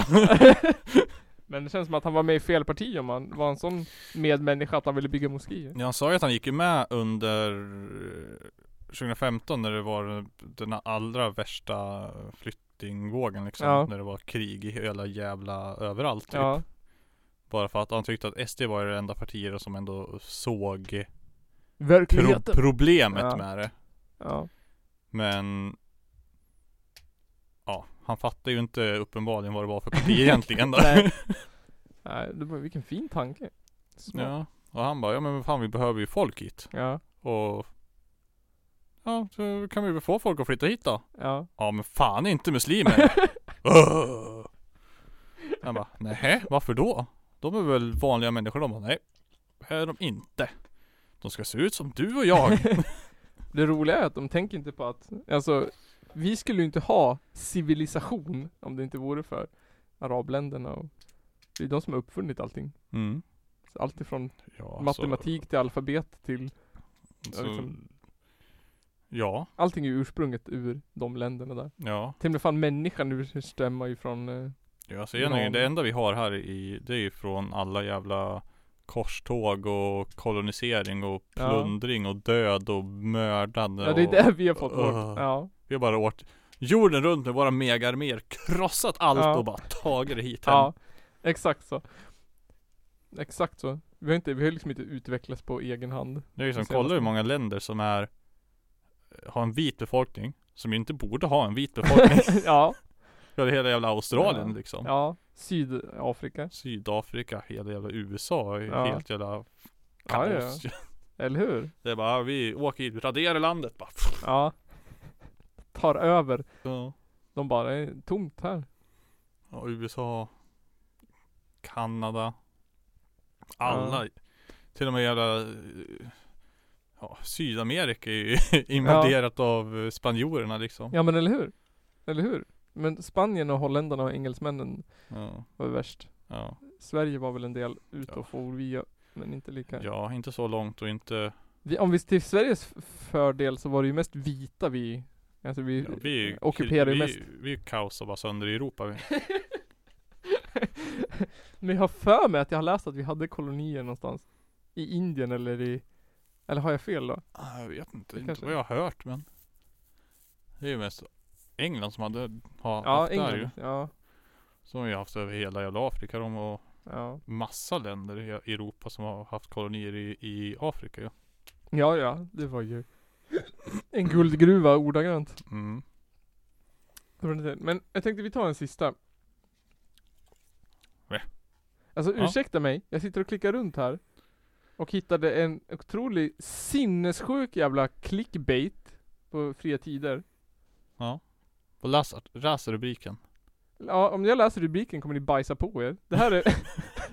Speaker 3: Men det känns som att han var med i fel parti om han var en sån medmänniska att han ville bygga moskéer.
Speaker 1: Ja, Han sa ju att han gick ju med under eh, 2015 när det var den allra värsta flyktingvågen liksom.
Speaker 3: Ja.
Speaker 1: När det var krig i hela jävla överallt. Typ.
Speaker 3: Ja.
Speaker 1: Bara för att han tyckte att SD var det enda partiet som ändå såg pro-
Speaker 3: Verkligheten.
Speaker 1: problemet
Speaker 3: Ja.
Speaker 1: med det.
Speaker 3: Ja.
Speaker 1: Men Ja, han fattade ju inte uppenbarligen vad det var för parti egentligen då.
Speaker 3: Nej. Nej, det var, vilken fin tanke. Smart.
Speaker 1: ja. Och han bara, ja men fan vi behöver ju folk hit.
Speaker 3: Ja.
Speaker 1: Och Ja, så kan vi väl få folk att flytta hit då?
Speaker 3: Ja.
Speaker 1: Ja men fan inte muslimer Ugh. Han bara nej, varför då? De är väl vanliga människor de bara nej här är de inte De ska se ut som du och jag
Speaker 3: Det roliga är att de tänker inte på att, alltså, vi skulle ju inte ha civilisation om det inte vore för arabländerna och det är de som har uppfunnit allting.
Speaker 1: mm.
Speaker 3: Så Allt ifrån
Speaker 1: ja,
Speaker 3: matematik till alfabet till
Speaker 1: så,
Speaker 3: ja,
Speaker 1: så,
Speaker 3: liksom,
Speaker 1: Ja,
Speaker 3: Allting är ju ursprunget ur de länderna där.
Speaker 1: ja
Speaker 3: Till och med fan människan urstammar ju från eh,
Speaker 1: Ja, så egentligen det enda vi har här i Det är ju från alla jävla Korståg och kolonisering och
Speaker 3: Ja.
Speaker 1: plundring och död och mördande
Speaker 3: Ja det är
Speaker 1: och-
Speaker 3: där vi har fått vårt,
Speaker 1: Ugh.
Speaker 3: ja.
Speaker 1: Vi har bara åkt jorden runt med våra megarméer, krossat allt
Speaker 3: Ja.
Speaker 1: och bara tagit det hit hem.
Speaker 3: ja. Exakt så. Exakt så. Vi har inte, vi har liksom inte utvecklats på egen hand.
Speaker 1: Det är liksom,
Speaker 3: Senaste.
Speaker 1: kolla hur många länder som är eh, Har en vit befolkning Som ju inte borde ha en vit befolkning
Speaker 3: ja,
Speaker 1: Hela hela jävla Australien
Speaker 3: Ja.
Speaker 1: liksom
Speaker 3: ja. Sydafrika.
Speaker 1: Sydafrika, hela jävla USA,
Speaker 3: Ja.
Speaker 1: helt jävla
Speaker 3: Ja, ja.
Speaker 1: kaos
Speaker 3: Eller hur?
Speaker 1: Det är bara, "Ah, vi åker hit, raderar landet bara
Speaker 3: Ja. Tar över.
Speaker 1: ja.
Speaker 3: De bara, det är tomt här.
Speaker 1: ja, USA Kanada Alla Till och med jävla eh, Ja, Sydamerika är ju invaderat av eh, spanjorerna liksom
Speaker 3: Ja men eller hur? Eller hur? Men Spanien och holländarna och engelsmännen
Speaker 1: Ja,
Speaker 3: var värst.
Speaker 1: ja.
Speaker 3: Sverige var väl en del ut
Speaker 1: Ja.
Speaker 3: och for via, men inte lika.
Speaker 1: ja inte så långt och inte
Speaker 3: Vi, om vi till Sveriges f- fördel så var det ju mest vita vi, alltså vi,
Speaker 1: Ja, vi är-
Speaker 3: ockuperar ju
Speaker 1: vi,
Speaker 3: mest.
Speaker 1: Vi är kaos och bara sönder i Europa. Vi.
Speaker 3: Men jag har för mig att jag har läst att vi hade kolonier någonstans. I Indien eller i, eller har jag fel då?
Speaker 1: Ah, Jag vet inte,
Speaker 3: Det
Speaker 1: inte
Speaker 3: kanske-
Speaker 1: vad jag har hört men. Det är ju mest England som hade ha,
Speaker 3: Ja,
Speaker 1: haft det här ju.
Speaker 3: England. Ja,
Speaker 1: Som har ju haft över hela jävla Afrika de och
Speaker 3: ja.
Speaker 1: massa länder i Europa som har haft kolonier i, i Afrika ju.
Speaker 3: Ja, ja, det var ju en guldgruva ordagrant.
Speaker 1: Mm.
Speaker 3: Men jag tänkte vi tar en sista.
Speaker 1: Va?
Speaker 3: Alltså
Speaker 1: Ja.
Speaker 3: ursäkta mig, jag sitter och klickar runt här. Och hittade en otrolig sinnessjuk jävla clickbait på fria tider.
Speaker 1: Och läs, läs rubriken.
Speaker 3: Ja, om jag läser rubriken kommer ni bajsa på er. Det här är...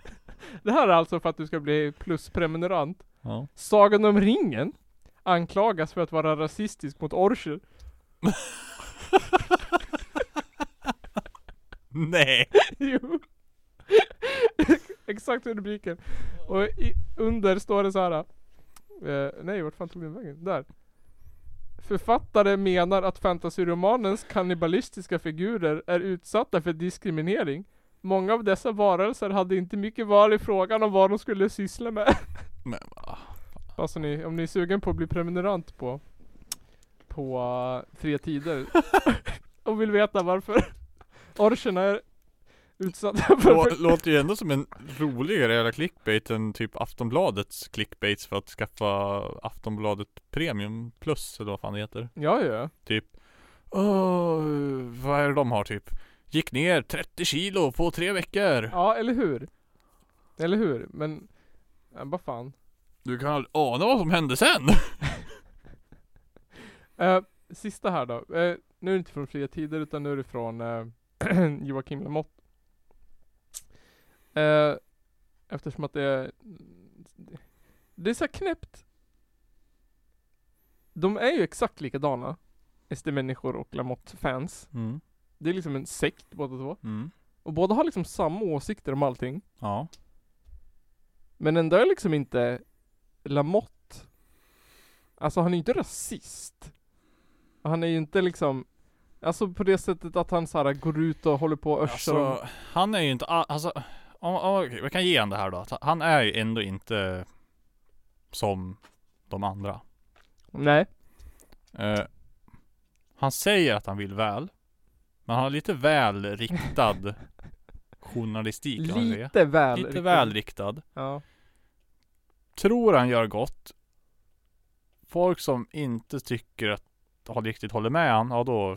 Speaker 3: det här är alltså för att du ska bli plusprenumerant.
Speaker 1: Ja.
Speaker 3: Sagan om ringen anklagas för att vara rasistisk mot orcher.
Speaker 1: Nej!
Speaker 3: Jo. Exakt rubriken. Och i, under står det så här. Eh, nej, vart fan tog den vägen? Där. Författare menar att fantasyromanens kannibalistiska figurer är utsatta för diskriminering. Många av dessa varelser hade inte mycket val i frågan om vad de skulle syssla med.
Speaker 1: Men, ah,
Speaker 3: Alltså ni, om ni är sugen på att bli prenumerant på på eh, Fria Tider och vill veta varför orcherna är utsatta för
Speaker 1: lå- låter ju ändå som en roligare jävla clickbait än typ Aftonbladets clickbaits för att skaffa Aftonbladet Premium Plus eller vad fan det heter.
Speaker 3: Ja, ja.
Speaker 1: Typ Åh, vad är det de har typ? Gick ner 30 kilo på tre veckor.
Speaker 3: Ja, eller hur? Eller hur? Men, ja, vad fan.
Speaker 1: Du kan aldrig ana vad som hände sen.
Speaker 3: Eh, sista här då. Eh, nu är det inte från Fria Tider utan nu är det från eh, Joakim Lamotte. Eh, eftersom att det är... Det är så här knäppt. De är ju exakt likadana. SD-människor och Lamotte-fans.
Speaker 1: Mm.
Speaker 3: Det är liksom en sekt båda två.
Speaker 1: Mm.
Speaker 3: Och båda har liksom samma åsikter om allting.
Speaker 1: Ja.
Speaker 3: Men ändå är liksom inte Lamotte Alltså han är ju inte rasist. Och Han är ju inte liksom Alltså på det sättet att han så här, går ut och håller på och örsar om-
Speaker 1: Alltså, han är ju inte, a- alltså, om, om, okej, vi kan ge han det här då. Att Han är ju ändå inte som de andra.
Speaker 3: Nej.
Speaker 1: Eh, han säger att han vill väl. Men han har lite väl riktad journalistik kan man säga.
Speaker 3: Lite väl.
Speaker 1: Lite
Speaker 3: riktigt.
Speaker 1: väl riktad.
Speaker 3: Ja.
Speaker 1: Tror han gör gott. Folk som inte tycker att han riktigt håller med han, ja då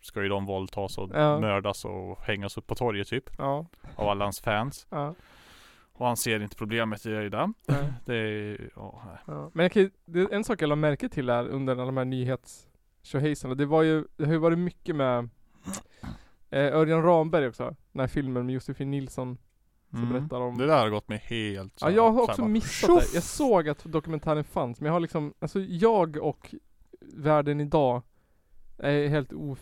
Speaker 1: ska ju de våldtas och
Speaker 3: Ja.
Speaker 1: mördas och hängas upp på torget typ.
Speaker 3: Ja.
Speaker 1: Av alla hans fans.
Speaker 3: Ja.
Speaker 1: Och han ser inte problemet i det.
Speaker 3: ja.
Speaker 1: Det är, ja, nej.
Speaker 3: Ja, men jag kan, ju- det, en sak jag la märke till här under alla de här nyhetstjohejsarna, det var ju, det har ju varit mycket med eh, Örjan Ramberg också, den här filmen med Josefin Nilsson som
Speaker 1: Mm.
Speaker 3: berättar om
Speaker 1: Det där har gått mig helt
Speaker 3: Ja, jag har
Speaker 1: så här
Speaker 3: också
Speaker 1: bara,
Speaker 3: missat
Speaker 1: tjoff!
Speaker 3: det. Jag såg att dokumentären fanns, men jag har liksom, alltså jag och världen idag är helt o...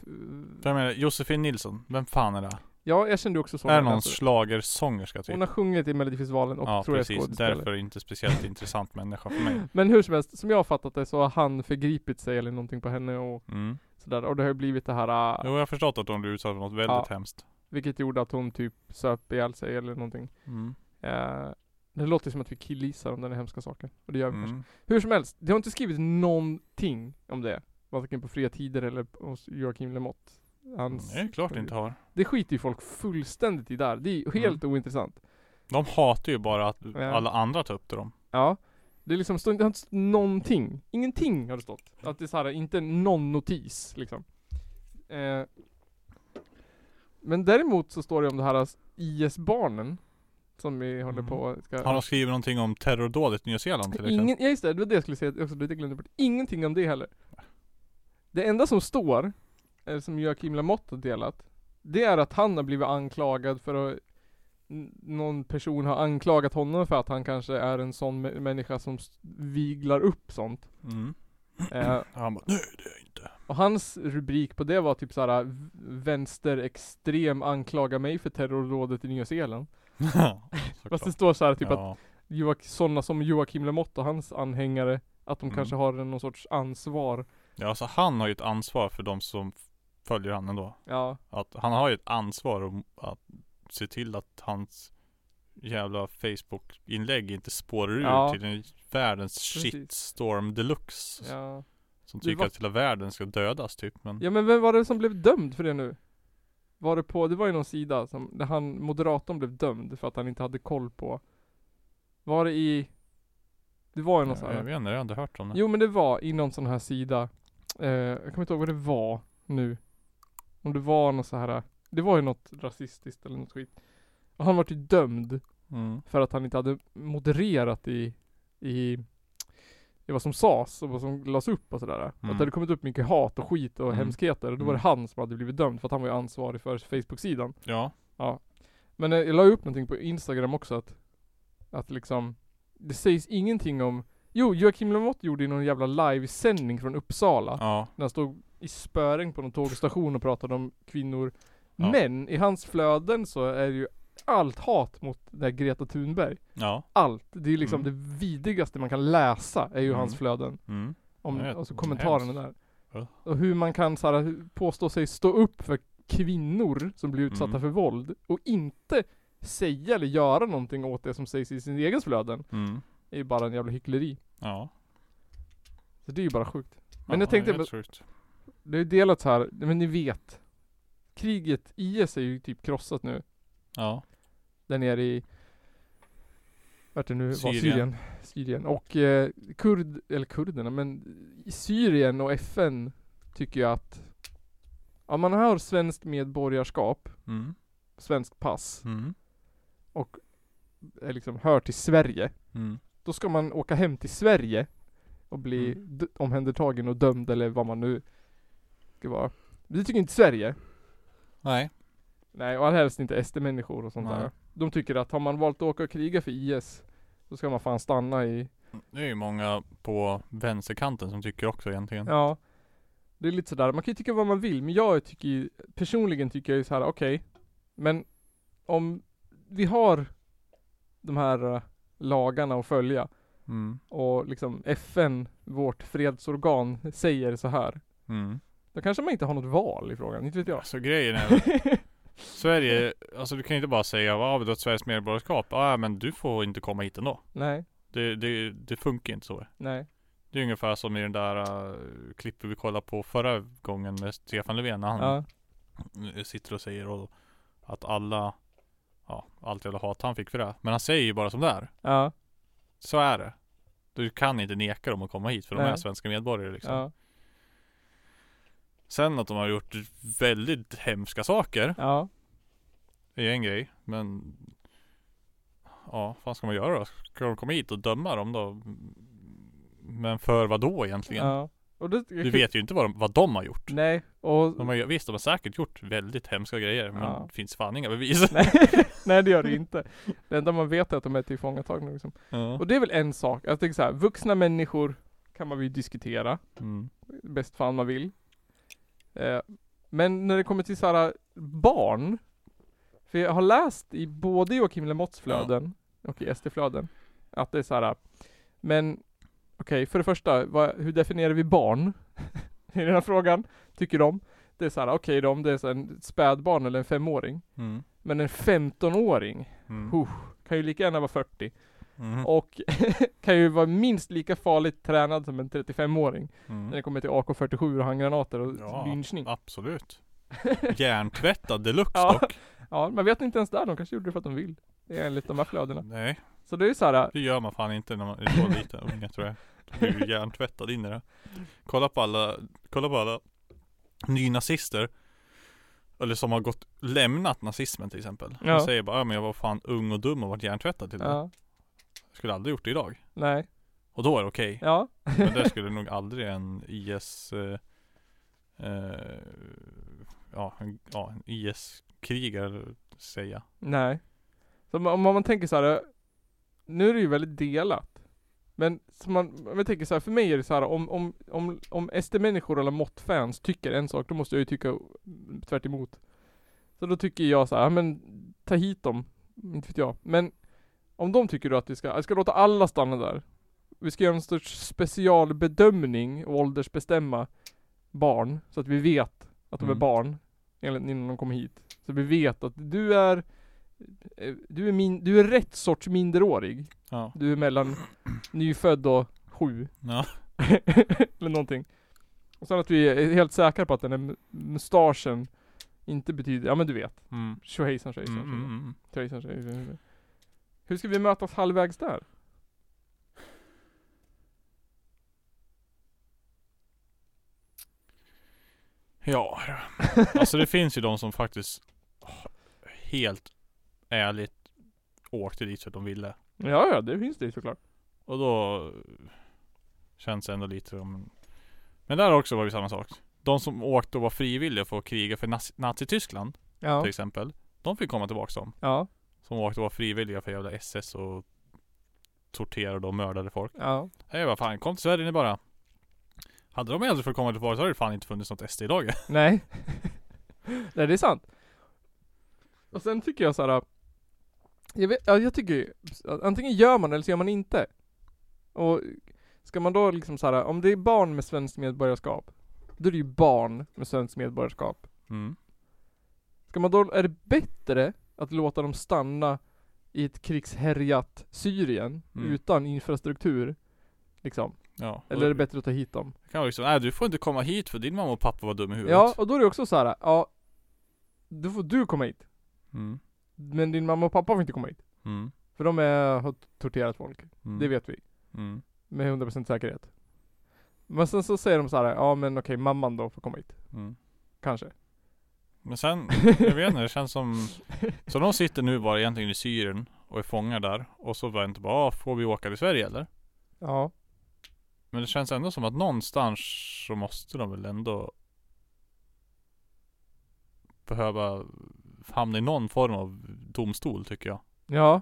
Speaker 1: Vem är det? Josefin Nilsson? Vem fan är det?
Speaker 3: Ja, jag kände ju också så.
Speaker 1: är det
Speaker 3: men
Speaker 1: någon
Speaker 3: alltså,
Speaker 1: schlagersångerska typ?
Speaker 3: Hon har sjungit i Melodifestivalen och
Speaker 1: ja
Speaker 3: tror jag är
Speaker 1: precis,
Speaker 3: skådespelare.
Speaker 1: därför är det inte speciellt intressant människa för mig.
Speaker 3: Men hur som helst, som jag har fattat det så har han förgripit sig eller någonting på henne och
Speaker 1: Mm.
Speaker 3: sådär. Och det har ju blivit det här, ah,
Speaker 1: Jo jag har förstått att hon blev utsatt för något väldigt
Speaker 3: Ja.
Speaker 1: hemskt.
Speaker 3: vilket gjorde att hon typ söp ihjäl sig eller någonting.
Speaker 1: Mm.
Speaker 3: Eh, det låter som att vi killgissar om den här hemska saken. Och det gör vi kanske.
Speaker 1: Mm.
Speaker 3: Hur som helst, det har inte skrivits någonting om det. Varken på Fria Tider eller hos Joakim Lamotte. Hans,
Speaker 1: Det är klart inte har.
Speaker 3: Det skiter ju folk fullständigt i där. Det är ju
Speaker 1: Mm.
Speaker 3: helt ointressant.
Speaker 1: De hatar ju bara att alla andra tar upp till dem.
Speaker 3: Ja. Det är liksom, stå, det har inte stått någonting. Ingenting har det stått. Att det är så här, inte någon notis liksom. Eh, men däremot så står det om det här alltså, IS-barnen. Som vi håller
Speaker 1: Mm.
Speaker 3: på ska...
Speaker 1: Har de skrivit någonting om terrordådet i Nya Zeeland till exempel?
Speaker 3: Ingen, ja just det, det var det jag skulle säga också, det glömde jag bort. Ingenting om det heller. Det enda som står, eller som Joakim Lamotte har delat, det är att han har blivit anklagad för att n- någon person har anklagat honom för att han kanske är en sån mä- människa som s- viglar upp sånt.
Speaker 1: Mm.
Speaker 3: Eh,
Speaker 1: Han bara, nej det är jag inte.
Speaker 3: och hans rubrik på det var typ såhär "V- Vänsterextrem anklagar mig för terrorrådet i Nya Zeeland. Fast det
Speaker 1: Såklart.
Speaker 3: står såhär typ att
Speaker 1: Ja.
Speaker 3: Joak- sådana som Joakim Lamotte och hans anhängare att de
Speaker 1: Mm.
Speaker 3: kanske har någon sorts ansvar.
Speaker 1: ja, alltså han har ju ett ansvar för de som följer han ändå.
Speaker 3: Ja,
Speaker 1: Att han har ju ett ansvar om att se till att hans jävla Facebook-inlägg inte spårar ur
Speaker 3: Ja.
Speaker 1: till en världens
Speaker 3: Precis.
Speaker 1: shitstorm deluxe.
Speaker 3: ja.
Speaker 1: Som
Speaker 3: Det
Speaker 1: tycker
Speaker 3: var-
Speaker 1: att hela världen ska dödas typ. Men
Speaker 3: ja men vem var det som blev dömd för det nu? Var det på, det var ju någon sida som, där han, moderatorn blev dömd för att han inte hade koll på. Var det i, det var ju någon sån
Speaker 1: jag, jag
Speaker 3: här.
Speaker 1: vet inte, jag har inte hört om det.
Speaker 3: Jo men det var i någon sån här sida. Eh, jag kommer inte ihåg vad det var nu. Om det var någon så här. det var ju något rasistiskt eller något skit. Och han vart ju dömd
Speaker 1: Mm.
Speaker 3: För att han inte hade modererat i, i, i vad som sades och vad som lades upp och sådär. Att det
Speaker 1: Mm.
Speaker 3: hade kommit upp mycket hat och skit och
Speaker 1: Mm.
Speaker 3: hemskheter. Och då var det
Speaker 1: Mm.
Speaker 3: han som hade blivit dömd för att han var ju ansvarig för Facebook-sidan.
Speaker 1: Ja.
Speaker 3: Men eh, jag la ju upp någonting på Instagram också att, att liksom, det sägs ingenting om Jo, Joakim Lamotte gjorde ju någon jävla livesändning från Uppsala.
Speaker 1: Ja.
Speaker 3: När han stod i spöring på någon tågstation och pratade om kvinnor.
Speaker 1: Ja.
Speaker 3: Men i hans flöden så är ju allt hat mot den där Greta Thunberg
Speaker 1: Ja.
Speaker 3: allt. Det är liksom
Speaker 1: Mm.
Speaker 3: det vidrigaste man kan läsa är ju
Speaker 1: Mm.
Speaker 3: hans flöden.
Speaker 1: Mm.
Speaker 3: Om,
Speaker 1: Jag vet.
Speaker 3: alltså kommentarerna där.
Speaker 1: Hemskt. Ja.
Speaker 3: Och hur man kan så här, hur- påstå sig stå upp för kvinnor som blir utsatta
Speaker 1: Mm.
Speaker 3: för våld och inte säga eller göra någonting åt det som sägs i sin egen flöden.
Speaker 1: Mm.
Speaker 3: är ju bara en jävla hyckleri.
Speaker 1: Ja.
Speaker 3: Så det är ju bara sjukt. Men
Speaker 1: ja,
Speaker 3: jag tänkte
Speaker 1: det är helt sjukt.
Speaker 3: Det är ju delat så här, men ni vet. Kriget, IS är ju typ krossat nu.
Speaker 1: Ja.
Speaker 3: där nere i vart det nu var,
Speaker 1: Syrien.
Speaker 3: Syrien. Syrien. Och eh, kurd, eller kurderna, men i Syrien och FN tycker jag att om man har svenskt medborgarskap,
Speaker 1: Mm.
Speaker 3: svenskt pass
Speaker 1: Mm.
Speaker 3: och är liksom hör till Sverige,
Speaker 1: Mm.
Speaker 3: då ska man åka hem till Sverige och bli d- omhändertagen och dömd eller vad man nu ska vara. Det tycker inte Sverige.
Speaker 1: Nej.
Speaker 3: Nej, och helst inte SD-människor och sånt
Speaker 1: Nej.
Speaker 3: där. De tycker att har man valt att åka och kriga för IS, då ska man fan stanna i...
Speaker 1: Det är ju många på vänsterkanten som tycker också egentligen.
Speaker 3: Ja. Det är lite sådär, man kan ju tycka vad man vill, men jag tycker ju- personligen tycker jag ju så här: okej, men om vi har de här eh, lagarna att följa
Speaker 1: Mm.
Speaker 3: och liksom FN, vårt fredsorgan, säger så här.
Speaker 1: Mm.
Speaker 3: Då kanske man inte har något val i frågan, inte vet jag.
Speaker 1: Alltså grejen är väl- Sverige, alltså du kan inte bara säga vad har vi då ett svenskt medborgarskap? Ja ah, men du får inte komma hit ändå.
Speaker 3: Nej,
Speaker 1: Det, det, det funkar inte så.
Speaker 3: nej.
Speaker 1: Det är ungefär som i den där äh, klippet vi kollade på förra gången med Stefan Löfven när han
Speaker 3: Ja.
Speaker 1: sitter och säger och, att alla, ja allt jävla hat han fick för det. Men han säger ju bara som det är.
Speaker 3: Ja.
Speaker 1: Så är det. Du kan inte neka dem att komma hit för de
Speaker 3: Nej.
Speaker 1: är svenska medborgare liksom.
Speaker 3: Ja.
Speaker 1: Sen att de har gjort väldigt hemska saker
Speaker 3: Ja.
Speaker 1: är ju en grej. Men ja, vad fan ska man göra då? Ska de komma hit och döma dem då? Men för vad då egentligen?
Speaker 3: ja. Och det,
Speaker 1: Du vet ju inte vad de, vad de har gjort.
Speaker 3: Nej. Och...
Speaker 1: De har, ju- visst, de har säkert gjort väldigt hemska grejer men
Speaker 3: Ja.
Speaker 1: det finns fan inga bevis.
Speaker 3: Nej. nej, det gör det inte. Det enda man vet är att de är tillfångatagna liksom.
Speaker 1: Ja.
Speaker 3: Och det är väl en sak. Jag tänker så här, vuxna människor kan man väl diskutera.
Speaker 1: Mm.
Speaker 3: bäst fan man vill. Eh, men när det kommer till såhär barn. För jag har läst i både Joakim Lemotts flöden och i SD-flöden. Att det är såhär. Men okej, för det första. Vad, hur definierar vi barn? I den här frågan. Tycker de. Det är såhär, okej då om det är så här en spädbarn eller en femåring.
Speaker 1: Mm.
Speaker 3: Men en 15-åring
Speaker 1: Mm.
Speaker 3: Huh. kan ju lika gärna vara 40.
Speaker 1: Mm.
Speaker 3: Och kan ju vara minst lika farligt tränad som en 35-åring. När
Speaker 1: Mm.
Speaker 3: det kommer till AK47 och handgranater och
Speaker 1: Ja.
Speaker 3: lynchning.
Speaker 1: Absolut. Hjärntvättad deluxe
Speaker 3: Ja.
Speaker 1: dock.
Speaker 3: Ja, man vet inte ens där. De kanske gjorde det för att de vill. Det är enligt de här flödena.
Speaker 1: Nej,
Speaker 3: Så det är ju såhär,
Speaker 1: det gör man fan inte när man är så liten unge tror jag. Du blir ju hjärntvättad in i det. Kolla på alla, kolla på alla nynazister. Eller som har gått, lämnat nazismen till exempel.
Speaker 3: Ja.
Speaker 1: De säger bara, ja men jag var fan ung och dum och vart hjärntvättad till det.
Speaker 3: ja,
Speaker 1: Skulle aldrig gjort det idag.
Speaker 3: nej,
Speaker 1: Och då är det okej.
Speaker 3: ja,
Speaker 1: Men det skulle nog aldrig en IS eh, eh, Ja, en, ja, en IS-krigare säga.
Speaker 3: nej. Så om om man tänker såhär, nu är det ju väldigt delat. Men så man, om jag tänker såhär, för mig är det såhär om, om, om, om SD-människor eller måttfans tycker en sak, då måste jag ju tycka tvärt emot. Så då tycker jag såhär, ja, men ta hit dem. Inte vet jag. Men om de tycker då att vi ska, vi ska låta alla stanna där. Vi ska göra en sorts specialbedömning och åldersbestämma barn. Så att vi vet att de är
Speaker 1: Mm.
Speaker 3: barn. enligt- Innan de kommer hit. Så vi vet att du är eh, du är, min, du är rätt sorts minderårig.
Speaker 1: Ja.
Speaker 3: Du är mellan nyfödd och sju.
Speaker 1: Ja.
Speaker 3: Eller någonting. Och sen att vi är helt säkra på att den där mu- mustaschen inte betyder, ja men du vet.
Speaker 1: Mm.
Speaker 3: Tjohejsan tjohejsan.
Speaker 1: Mm, mm,
Speaker 3: tjohejsan,
Speaker 1: mm.
Speaker 3: Tjohejsan tjohejsan. Hur ska vi mötas halvvägs där?
Speaker 1: Ja. Alltså det finns ju de som faktiskt helt ärligt åkte dit för att de ville.
Speaker 3: Ja, ja, det finns det ju såklart.
Speaker 1: Och då känns det ändå lite som Men där också var det samma sak. De som åkte och var frivilliga för att kriga för Nazi- Nazityskland
Speaker 3: Ja.
Speaker 1: till exempel. De fick komma tillbaka som.
Speaker 3: Ja.
Speaker 1: Som åkte och var frivilliga för jävla SS och torterade och mördade folk.
Speaker 3: Ja.
Speaker 1: Nej vad fan, kom till Sverige ni bara. Hade de aldrig fått komma tillbaka så hade det fan inte funnits något SD idag.
Speaker 3: Nej. Nej, det är sant. Och sen tycker jag så här. Jag, vet, ja, jag tycker ju, att antingen gör man eller så gör man inte. Och ska man då liksom så här, om det är barn med svenskt medborgarskap, då är det ju barn med svenskt medborgarskap.
Speaker 1: Mm.
Speaker 3: Ska man då, är det bättre att låta dem stanna i ett krigshärjat Syrien
Speaker 1: Mm.
Speaker 3: utan infrastruktur? Liksom.
Speaker 1: Ja. och
Speaker 3: Eller är det bättre att ta hit dem?
Speaker 1: Kan vara liksom, nej du får inte komma hit för din mamma och pappa var dum i huvudet.
Speaker 3: Ja, och då är det också så här, ja, då får du komma hit.
Speaker 1: Mm.
Speaker 3: Men din mamma och pappa får inte komma hit.
Speaker 1: Mm.
Speaker 3: För de är, har torterat folk.
Speaker 1: Mm.
Speaker 3: Det vet vi.
Speaker 1: Mm.
Speaker 3: Med 100% säkerhet. Men sen så säger de så här, ja men okej mamman då får komma hit.
Speaker 1: Mm.
Speaker 3: Kanske.
Speaker 1: Men sen, jag vet inte, det känns som Så de sitter nu bara egentligen i Syrien och är fångar där och så väntar bara, ah, får vi åka till Sverige eller?
Speaker 3: Ja.
Speaker 1: Men det känns ändå som att någonstans så måste de väl ändå behöva hamna i någon form av domstol tycker jag.
Speaker 3: Ja.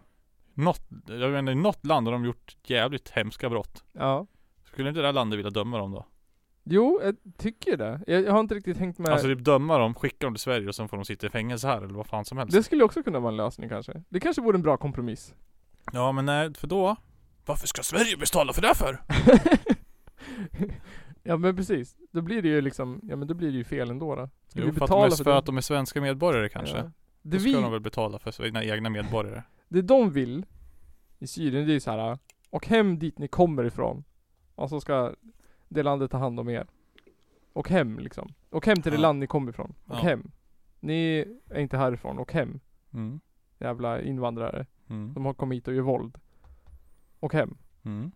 Speaker 1: Något, jag menar i något land har de gjort jävligt hemska brott.
Speaker 3: Ja.
Speaker 1: Skulle inte det här landet vilja döma dem då?
Speaker 3: Jo, jag tycker det. Jag, jag har inte riktigt hängt med.
Speaker 1: Alltså typ döma dem, skicka dem till Sverige och sen får de sitta i fängelse här eller vad fan som helst.
Speaker 3: det skulle också kunna vara en lösning kanske. Det kanske vore en bra kompromiss.
Speaker 1: Ja men nej, för då? Varför ska Sverige betala för det här för?
Speaker 3: Ja men precis. Då blir det ju liksom, ja men då blir det ju fel ändå då. Ska
Speaker 1: Jo,
Speaker 3: vi
Speaker 1: för, att
Speaker 3: betala
Speaker 1: de är,
Speaker 3: för
Speaker 1: för,
Speaker 3: det?
Speaker 1: att de är svenska medborgare kanske.
Speaker 3: Ja. Det,
Speaker 1: Då ska
Speaker 3: vi,
Speaker 1: de väl betala för sina egna medborgare.
Speaker 3: det de vill i Syrien det är ju så här. Och hem dit ni kommer ifrån. Och så ska det landet ta hand om er. Och hem liksom. Och hem till det
Speaker 1: Ja.
Speaker 3: land ni kommer ifrån. Och
Speaker 1: Ja.
Speaker 3: hem. Ni är inte härifrån. Och hem.
Speaker 1: Mm.
Speaker 3: Jävla invandrare.
Speaker 1: Mm.
Speaker 3: De har kommit hit och gör våld. Och hem.
Speaker 1: Mm.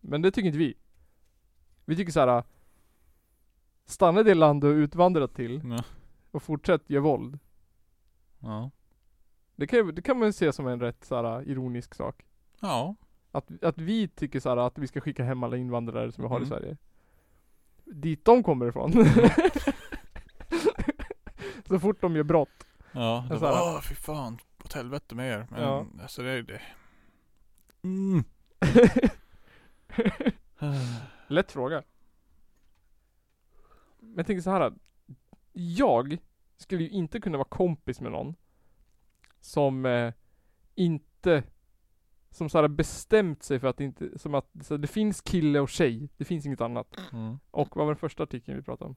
Speaker 3: Men det tycker inte vi. Vi tycker så här. Stanna i det land du har utvandrat till
Speaker 1: Ja.
Speaker 3: och fortsätt göra våld.
Speaker 1: Ja.
Speaker 3: Det kan, ju- det kan man ju se som en rätt så här, ironisk sak.
Speaker 1: ja.
Speaker 3: Att, att vi tycker så här, att vi ska skicka hem alla invandrare som vi har i
Speaker 1: Mm.
Speaker 3: Sverige. Dit de kommer ifrån. så fort de gör brott.
Speaker 1: Ja, det
Speaker 3: Så
Speaker 1: var
Speaker 3: här.
Speaker 1: åh fy fan, åt helvete med er. Men
Speaker 3: Alltså, Ja.
Speaker 1: alltså det är det. Mm.
Speaker 3: Lätt fråga. Men jag tänker så här. Jag skulle ju inte kunna vara kompis med någon som eh, inte som så här bestämt sig för att inte, som att så här, det finns kille och tjej, det finns inget annat.
Speaker 1: Mm.
Speaker 3: Och vad var den första artikeln vi pratade om?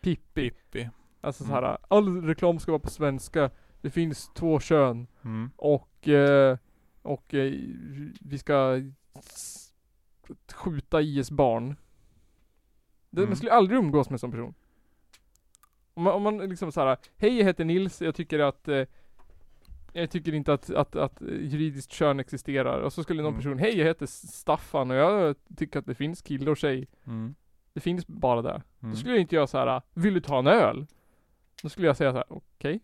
Speaker 3: Pippi.
Speaker 1: Pippi.
Speaker 3: Alltså
Speaker 1: Mm.
Speaker 3: så här, all reklam ska vara på svenska. Det finns två kön
Speaker 1: Mm.
Speaker 3: och, eh, och eh, vi ska s- skjuta IS barn. Det,
Speaker 1: Mm.
Speaker 3: Man skulle aldrig umgås med en sån person. Om man, om man liksom så här, hej jag heter Nils, jag tycker att eh, jag tycker inte att, att, att eh, juridiskt kön existerar. Och så skulle någon
Speaker 1: Mm.
Speaker 3: person, hej jag heter Staffan och jag tycker att det finns kille och tjej.
Speaker 1: Mm.
Speaker 3: Det finns bara det.
Speaker 1: Mm.
Speaker 3: Då skulle jag inte göra så här. vill du ta en öl? Då skulle jag säga så här, okej.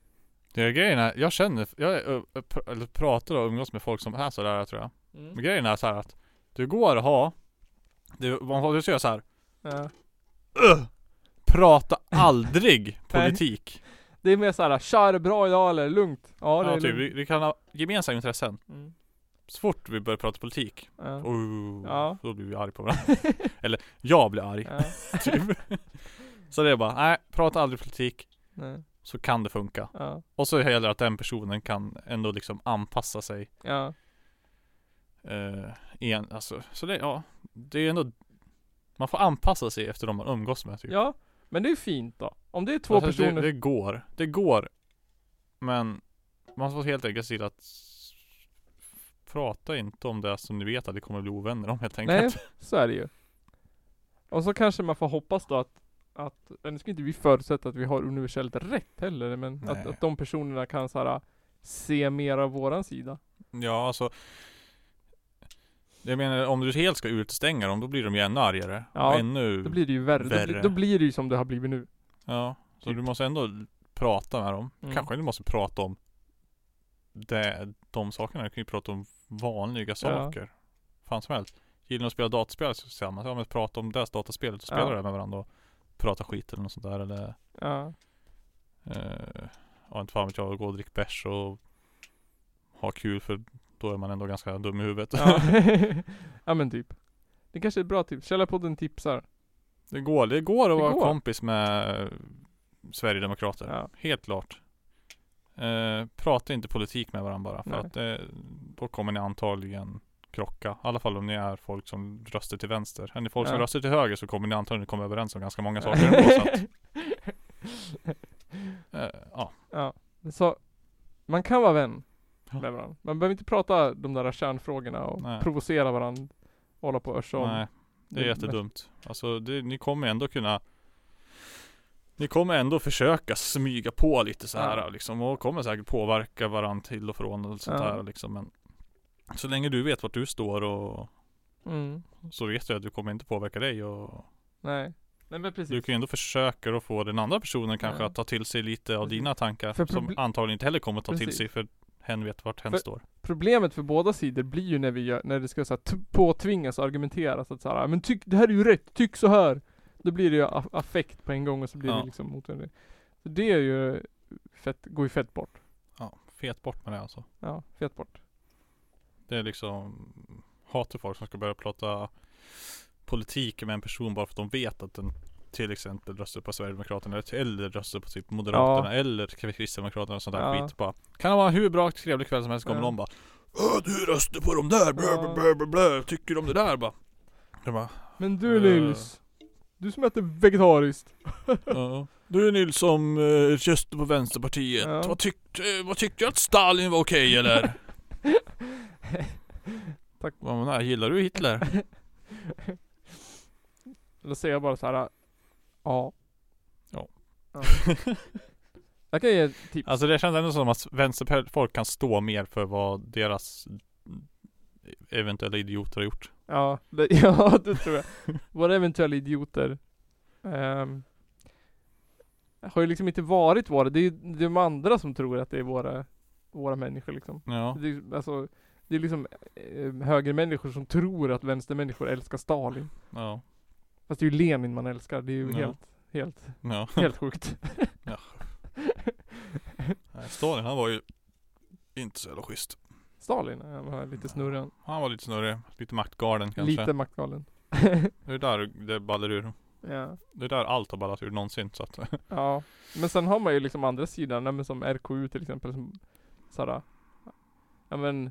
Speaker 1: Det är grejen är, jag känner, jag är, ö- ö- pr- eller pratar och umgås med folk som är sådär tror jag. Men grejen är så här att du går och ha, du, vad du ska göra så här.
Speaker 3: Ja.
Speaker 1: Prata aldrig politik.
Speaker 3: Det är mer så här, tja är det bra idag eller lugnt? Ja det
Speaker 1: Ja,
Speaker 3: är
Speaker 1: typ,
Speaker 3: lugnt.
Speaker 1: vi, vi kan ha gemensamma intressen.
Speaker 3: Mm.
Speaker 1: Så fort vi börjar prata politik,
Speaker 3: Ja.
Speaker 1: oh,
Speaker 3: Ja.
Speaker 1: då blir vi arga på varandra. eller jag blir arg.
Speaker 3: Ja.
Speaker 1: typ. Så det är bara, nej, prata aldrig politik
Speaker 3: Nej.
Speaker 1: så kan det funka.
Speaker 3: Ja.
Speaker 1: Och så gäller det att den personen kan ändå liksom anpassa sig.
Speaker 3: Ja.
Speaker 1: Eh, igen, alltså, så det, ja, det är ändå Man får anpassa sig efter de man umgås med typ.
Speaker 3: ja. Men det är fint då. Om det är två
Speaker 1: Alltså,
Speaker 3: personer.
Speaker 1: det, det går, det går. Men man får helt enkelt se till att s- Prata inte om det som ni vet att ni kommer bli ovänner om helt
Speaker 3: Nej,
Speaker 1: enkelt.
Speaker 3: så är det ju. Och så kanske man får hoppas då att, att men det ska inte vi förutsätta att vi har universellt rätt heller, men att,
Speaker 1: Nej.
Speaker 3: att de personerna kan så här, se mer av våran sida.
Speaker 1: Ja alltså Jag menar om du helt ska utestänga dem då blir de ju ännu argare.
Speaker 3: Ja,
Speaker 1: och ännu
Speaker 3: Då blir det ju värre. Då, blir-
Speaker 1: Mm. Värre.
Speaker 3: då blir det ju som det har blivit nu.
Speaker 1: Ja, så
Speaker 3: Typ.
Speaker 1: du måste ändå prata med dem.
Speaker 3: Mm.
Speaker 1: Kanske du måste prata om det, de sakerna. Du kan ju prata om vanliga saker. Fan som helst. Gillar ni att spela dataspel tillsammans? Ja men prata om det dataspelet och spela
Speaker 3: Ja.
Speaker 1: det med varandra och prata skit eller något sånt där eller
Speaker 3: Ja.
Speaker 1: eh, Ja inte fan vet jag, gå och dricka bärs och ha kul för då är man ändå ganska dum i huvudet.
Speaker 3: Ja. ja men typ. Det kanske är ett bra tips. Källarpodden tipsar.
Speaker 1: det går, det går att
Speaker 3: Det
Speaker 1: vara
Speaker 3: går.
Speaker 1: kompis med eh, Sverigedemokrater.
Speaker 3: Ja.
Speaker 1: Helt klart. Eh, prata inte politik med varandra bara. För
Speaker 3: Nej.
Speaker 1: att eh, då kommer ni antagligen krocka. I alla fall om ni är folk som röstar till vänster. Är ni folk som
Speaker 3: Ja.
Speaker 1: röstar till höger så kommer ni antagligen komma överens om ganska många saker ändå. Så att, eh, ja.
Speaker 3: ja. Så man kan vara vän
Speaker 1: Ja.
Speaker 3: med varandra. Man behöver inte prata de där kärnfrågorna och
Speaker 1: Nej.
Speaker 3: provocera varandra. Hålla på och örsa om
Speaker 1: Nej, det är
Speaker 3: det-
Speaker 1: jättedumt. Alltså det, ni kommer ändå kunna ni kommer ändå försöka smyga på lite så här
Speaker 3: Ja.
Speaker 1: liksom och kommer säkert påverka varandra till och från och sånt
Speaker 3: Ja.
Speaker 1: där liksom men Så länge du vet vart du står och
Speaker 3: Mm.
Speaker 1: så vet jag att du kommer inte påverka dig och
Speaker 3: Nej. Nej men precis.
Speaker 1: du kan ju ändå försöka att få den andra personen kanske
Speaker 3: Ja.
Speaker 1: att ta till sig lite av
Speaker 3: Precis.
Speaker 1: dina tankar
Speaker 3: För
Speaker 1: som
Speaker 3: proble-
Speaker 1: antagligen inte heller kommer att ta till
Speaker 3: Precis.
Speaker 1: sig för hen vet vart hen
Speaker 3: För-
Speaker 1: står.
Speaker 3: Problemet för båda sidor blir ju när vi gör, när det ska så här, t- påtvingas och argumenteras att så här, "Ah, men tyck, det här är ju rätt, tyck så här. Då blir det ju a- affekt på en gång och så blir
Speaker 1: Ja.
Speaker 3: det liksom mot en. Så det är ju fett, går ju fett bort.
Speaker 1: Ja, fet bort med det alltså.
Speaker 3: Ja, fett bort.
Speaker 1: Det är liksom hatar folk som ska börja prata politik med en person bara för att de vet att den till exempel röstar på Sverigedemokraterna eller- eller röstar på typ Moderaterna eller Kristdemokraterna och sånt där
Speaker 3: Ja.
Speaker 1: skit. Bara, kan det vara en hur bra och trevlig kväll som helst kommer
Speaker 3: Ja.
Speaker 1: någon bara "Åh, Du röstar på de där, blö, blö, blö, blö, blö. tycker du om det där? Bara, de bara
Speaker 3: Men du
Speaker 1: Eh.
Speaker 3: Nils, Du som äter vegetariskt.
Speaker 1: Ja. Du Nils som eh, röstade på Vänsterpartiet.
Speaker 3: Ja.
Speaker 1: Vad, tyckte, eh, vad tyckte du att Stalin var okej eller?
Speaker 3: Tack.
Speaker 1: Vad menar, gillar du Hitler?
Speaker 3: Då säger jag bara så här. "Ah, Ja.
Speaker 1: Ja.
Speaker 3: ja. Jag kan ge ett tips.
Speaker 1: Alltså det känns ändå som att vänsterfolk kan stå mer för vad deras eventuella idioter har gjort.
Speaker 3: Ja, det, ja det tror jag. Våra eventuella idioter. ehm, har ju liksom inte varit våra. Det är ju de andra som tror att det är våra, våra människor liksom.
Speaker 1: Ja.
Speaker 3: Det, är- alltså, det är liksom eh, högermänniskor som tror att vänstermänniskor älskar Stalin.
Speaker 1: Ja.
Speaker 3: Fast det är ju Lenin man älskar. Det är ju
Speaker 1: Ja.
Speaker 3: helt, helt,
Speaker 1: Ja.
Speaker 3: helt sjukt.
Speaker 1: Nej, Stalin han var ju inte så jävla schysst.
Speaker 3: Stalin, han var lite snurrig. han.
Speaker 1: Han var lite snurrig, lite maktgalen kanske.
Speaker 3: Lite maktgalen.
Speaker 1: Det är där det ballar ur.
Speaker 3: ja.
Speaker 1: Det är där allt har ballat ur någonsin så att.
Speaker 3: Ja, men sen har man ju liksom andra sidan, nej, men som RKU till exempel som såhär, ja men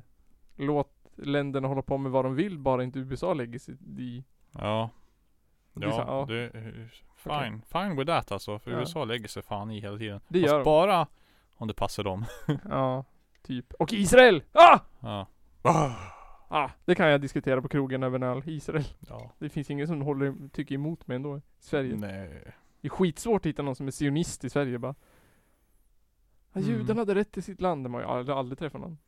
Speaker 3: låt länderna hålla på med vad de vill bara inte USA lägger sig i.
Speaker 1: Ja.
Speaker 3: Det är så- ja.
Speaker 1: Ja, det är fine. Fine with that alltså. För
Speaker 3: Ja.
Speaker 1: USA lägger sig fan i hela tiden.
Speaker 3: Det gör
Speaker 1: Fast
Speaker 3: de.
Speaker 1: bara om det passar dem.
Speaker 3: Ja, typ. Och Israel! Ah!
Speaker 1: Ja.
Speaker 3: ah! Det kan jag diskutera på krogen över en öl. Israel.
Speaker 1: ja.
Speaker 3: Det finns ingen som håller, tycker emot mig ändå. i Sverige.
Speaker 1: Nej.
Speaker 3: Det är skitsvårt att hitta någon som är sionist i Sverige bara. Ja,
Speaker 1: Mm.
Speaker 3: judarna hade rätt till sitt land. Det har jag aldrig, aldrig träffat någon.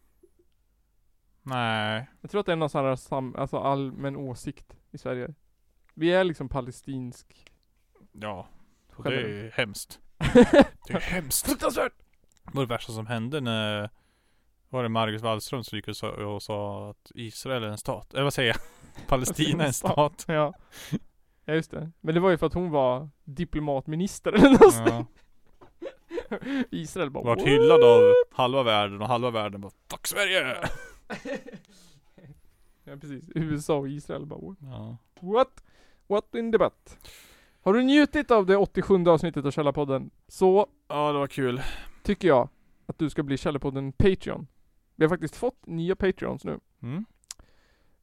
Speaker 1: Nej.
Speaker 3: Jag tror att det är någon sån här sam, alltså allmän åsikt i Sverige. Vi är liksom palestinsk.
Speaker 1: Ja. Och Det
Speaker 3: Generellt.
Speaker 1: är hemskt. Det är hemskt. Fruktansvärt! Det var det värsta som hände när var det Marcus Wallström som gick och sa, och sa att Israel är en stat. Eller vad säger jag? Palestina är en stat.
Speaker 3: Ja. Ja just det. Men det var ju för att hon var diplomatminister eller något sånt.
Speaker 1: Ja.
Speaker 3: Israel bara
Speaker 1: Vart
Speaker 3: "What?"
Speaker 1: hyllad av halva världen och halva världen bara Fuck Sverige!
Speaker 3: Ja precis. USA och Israel bara "What?
Speaker 1: Ja.
Speaker 3: What? What in the butt? Har du njutit av det 87 avsnittet av Källarpodden så
Speaker 1: Ja det var kul.
Speaker 3: tycker jag att du ska bli Källarpodden Patreon. Vi har faktiskt fått nya Patreons nu.
Speaker 1: Mm.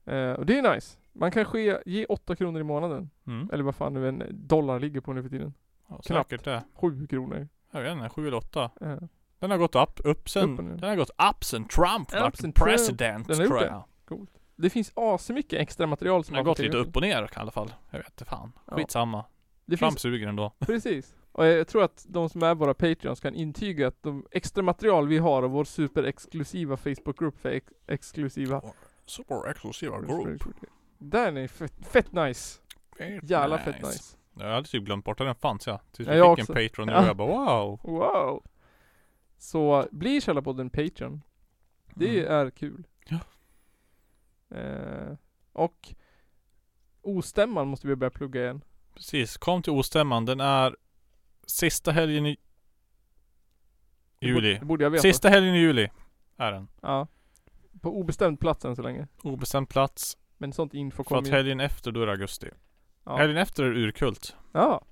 Speaker 3: Eh, och det är nice. Man kan ske, ge 8 kronor i månaden.
Speaker 1: Mm.
Speaker 3: Eller vad fan nu en dollar ligger på nu för tiden.
Speaker 1: Ja,
Speaker 3: Knappt.
Speaker 1: säkert det.
Speaker 3: 7 kronor.
Speaker 1: Jag vet inte, sju eller åtta.
Speaker 3: Eh,
Speaker 1: Den har gått upp, upp sen,
Speaker 3: Upp och ner.
Speaker 1: den har gått upp sen Trump
Speaker 3: Upp
Speaker 1: vart
Speaker 3: sen
Speaker 1: president
Speaker 3: Trump. Den har
Speaker 1: tror
Speaker 3: gjort
Speaker 1: jag.
Speaker 3: Det finns asmycket extra material som
Speaker 1: Den har
Speaker 3: man
Speaker 1: gått
Speaker 3: får
Speaker 1: lite
Speaker 3: tillgång
Speaker 1: upp och ner i alla fall. Jag vet inte fan.
Speaker 3: Ja.
Speaker 1: Skitsamma.
Speaker 3: till. Det
Speaker 1: Trump
Speaker 3: finns,
Speaker 1: suger ändå.
Speaker 3: precis. Och jag tror att de som är våra Patreons kan intyga att de extra material vi har och vår superexklusiva Facebookgrupp för ex- exklusiva
Speaker 1: Super exklusiva
Speaker 3: Den är fett, fett nice. Jävla fett nice.
Speaker 1: Jag hade typ glömt bort att den fanns ja. Tills
Speaker 3: Ja,
Speaker 1: vi
Speaker 3: jag
Speaker 1: fick
Speaker 3: också.
Speaker 1: en Patreon
Speaker 3: Ja.
Speaker 1: och jag bara wow.
Speaker 3: Wow. Så bli Källarpodden Patreon. Det
Speaker 1: Mm.
Speaker 3: är kul.
Speaker 1: Ja.
Speaker 3: Eh, och Ostämman måste vi börja plugga igen.
Speaker 1: Precis, kom till Ostämman. Den är sista helgen i
Speaker 3: Det borde-
Speaker 1: juli.
Speaker 3: Det borde jag veta.
Speaker 1: Sista helgen i juli är den.
Speaker 3: Ja. På obestämd plats än så länge.
Speaker 1: Obestämd plats.
Speaker 3: Men sånt info
Speaker 1: För att
Speaker 3: kommer ju.
Speaker 1: helgen efter då är det augusti.
Speaker 3: Ja.
Speaker 1: Helgen efter är det urkult.
Speaker 3: ja.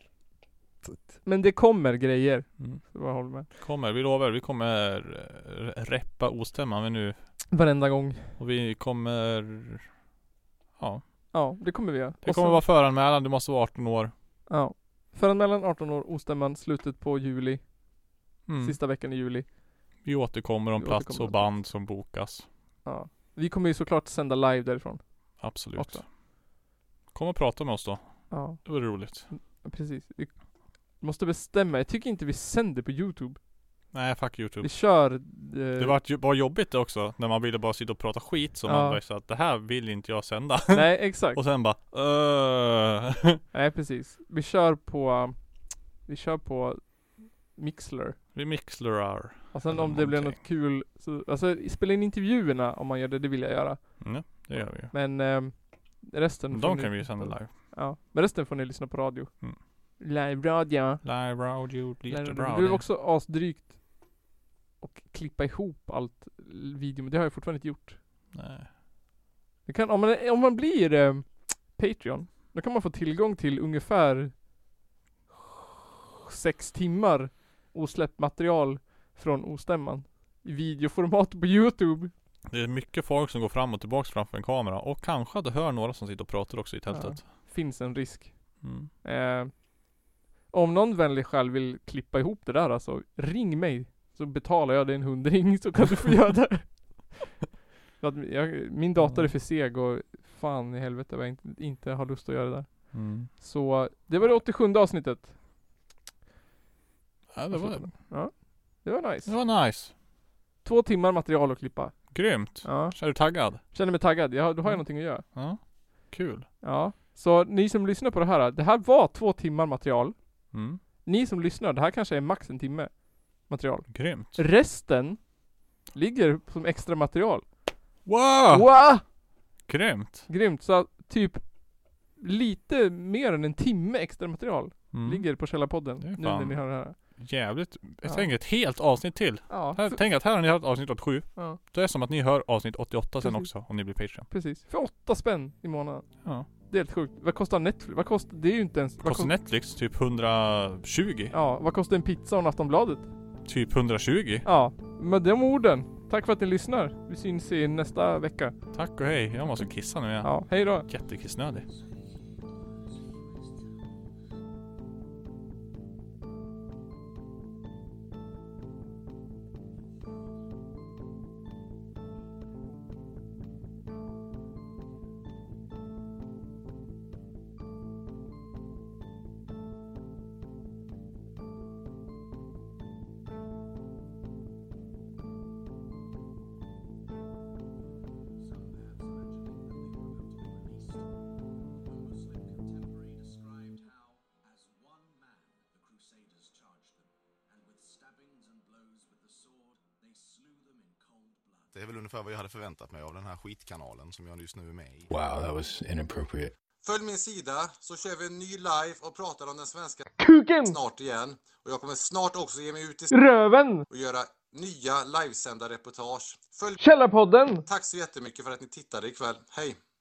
Speaker 3: Men det kommer grejer.
Speaker 1: Mm.
Speaker 3: Så bara håll med.
Speaker 1: Kommer, vi lovar. Vi kommer eh, reppa Ostämman men nu.
Speaker 3: Varenda gång.
Speaker 1: Och vi kommer... Ja.
Speaker 3: Ja, det kommer vi göra.
Speaker 1: Det
Speaker 3: Och
Speaker 1: kommer
Speaker 3: sen-
Speaker 1: vara föranmälan. Du måste vara 18 år.
Speaker 3: Ja. Föranmälan 18 år, Ostämman slutet på juli.
Speaker 1: Mm.
Speaker 3: Sista veckan i juli.
Speaker 1: Vi återkommer om
Speaker 3: Vi
Speaker 1: plats
Speaker 3: återkommer
Speaker 1: och
Speaker 3: om
Speaker 1: band som bokas.
Speaker 3: Ja. Vi kommer ju såklart sända live därifrån.
Speaker 1: Absolut.
Speaker 3: Också.
Speaker 1: Kom och prata med oss då.
Speaker 3: Ja,
Speaker 1: Det vore roligt.
Speaker 3: precis. Vi måste bestämma. Jag tycker inte vi sänder på Youtube.
Speaker 1: Nej, fuck Youtube.
Speaker 3: Vi kör... Eh,
Speaker 1: Det var, ju- var jobbigt det också, när man ville bara sitta och prata skit som
Speaker 3: Ja.
Speaker 1: man bara sa att det här vill inte jag sända.
Speaker 3: Nej, exakt.
Speaker 1: och sen bara "Öh."
Speaker 3: Nej, precis. Vi kör på... Vi kör på Mixler.
Speaker 1: Vi mixlerar.
Speaker 3: Och sen
Speaker 1: Eller
Speaker 3: om det blir något
Speaker 1: någonting.
Speaker 3: kul, så, alltså spela in intervjuerna om man gör det, det vill jag göra.
Speaker 1: Mm, det gör vi ju.
Speaker 3: Men ehm, resten får
Speaker 1: De
Speaker 3: ni-
Speaker 1: kan vi ju sända live.
Speaker 3: Ja, men resten får ni lyssna på radio.
Speaker 1: Mm.
Speaker 3: Live radio.
Speaker 1: Live radio, blir
Speaker 3: Live radio.
Speaker 1: jättebra.
Speaker 3: Det blir
Speaker 1: Det.
Speaker 3: också asdrygt. Och klippa ihop allt video, men det har jag fortfarande inte gjort.
Speaker 1: Nej.
Speaker 3: Det kan, om, man, om man blir ehm, Patreon, då kan man få tillgång till ungefär sex timmar osläppt material från ostämman. I videoformat på youtube.
Speaker 1: det är mycket folk som går fram och tillbaks framför en kamera och kanske att du hör några som sitter och pratar också i tältet.
Speaker 3: Finns en risk.
Speaker 1: Mm.
Speaker 3: Eh, om någon vänlig själ vill klippa ihop det där alltså, ring mig. Så betalar jag dig en hundring så kan du få göra det. För att jag, min dator är för seg och fan i helvete vad jag inte, inte har lust att göra det där.
Speaker 1: Mm.
Speaker 3: Så det var det 87 avsnittet.
Speaker 1: Ja, det var,
Speaker 3: Det var
Speaker 1: det
Speaker 3: nice.
Speaker 1: var nice.
Speaker 3: Två timmar material att klippa.
Speaker 1: Grymt.
Speaker 3: Ja.
Speaker 1: Är du taggad?
Speaker 3: Känner mig taggad. Jag, har- då har jag
Speaker 1: Mm.
Speaker 3: någonting att göra.
Speaker 1: Ja. Kul.
Speaker 3: Ja. Så ni som lyssnar på det här. Det här var två timmar material.
Speaker 1: Mm.
Speaker 3: Ni som lyssnar. Det här kanske är max en timme material.
Speaker 1: Grymt.
Speaker 3: Resten ligger som extra material.
Speaker 1: Wow!
Speaker 3: Wow!
Speaker 1: Grymt.
Speaker 3: Grymt. Så typ lite mer än en timme extra material
Speaker 1: Mm.
Speaker 3: ligger på Källarpodden.
Speaker 1: Det är
Speaker 3: Nu
Speaker 1: fan-
Speaker 3: när ni hör det här.
Speaker 1: Jävligt. Jag
Speaker 3: Ja.
Speaker 1: tänker ett helt avsnitt till.
Speaker 3: Ja,
Speaker 1: Här,
Speaker 3: för,
Speaker 1: tänk att här har ni hört avsnitt 87.
Speaker 3: ja,
Speaker 1: Det är som att ni hör avsnitt 88 sen
Speaker 3: Precis.
Speaker 1: också om ni blir Patreon.
Speaker 3: precis. För åtta spänn i månaden.
Speaker 1: Ja.
Speaker 3: Det är helt sjukt. Vad kostar Netflix? Vad kostar... Det är ju inte ens... Vad
Speaker 1: Kostar Netflix typ 120?
Speaker 3: Ja, vad kostar en pizza och Aftonbladet?
Speaker 1: Typ 120?
Speaker 3: Ja, med de orden. Tack för att ni lyssnar. Vi syns i nästa vecka.
Speaker 1: Tack och hej. Jag måste kissa nu. Jag är
Speaker 3: Ja, hej då.
Speaker 1: jättekissnödig.
Speaker 5: Muslim contemporary described how, as one man, the Crusaders charged them, and with stabbings and blows with the sword, they slew them in cold blood.
Speaker 6: Det är väl ungefär vad jag hade förväntat mig av den här skitkanalen som jag just nu är med i.
Speaker 7: Wow, that was inappropriate.
Speaker 8: Följ min sida så kör vi en ny live och pratar om den svenska
Speaker 3: Mm. Kuken!
Speaker 8: snart igen. Och jag kommer snart också ge mig ut i
Speaker 3: Röven!
Speaker 8: och göra nya livesända reportage. Följ...
Speaker 3: Källarpodden!
Speaker 8: Tack så jättemycket för att ni tittade ikväll. Hej!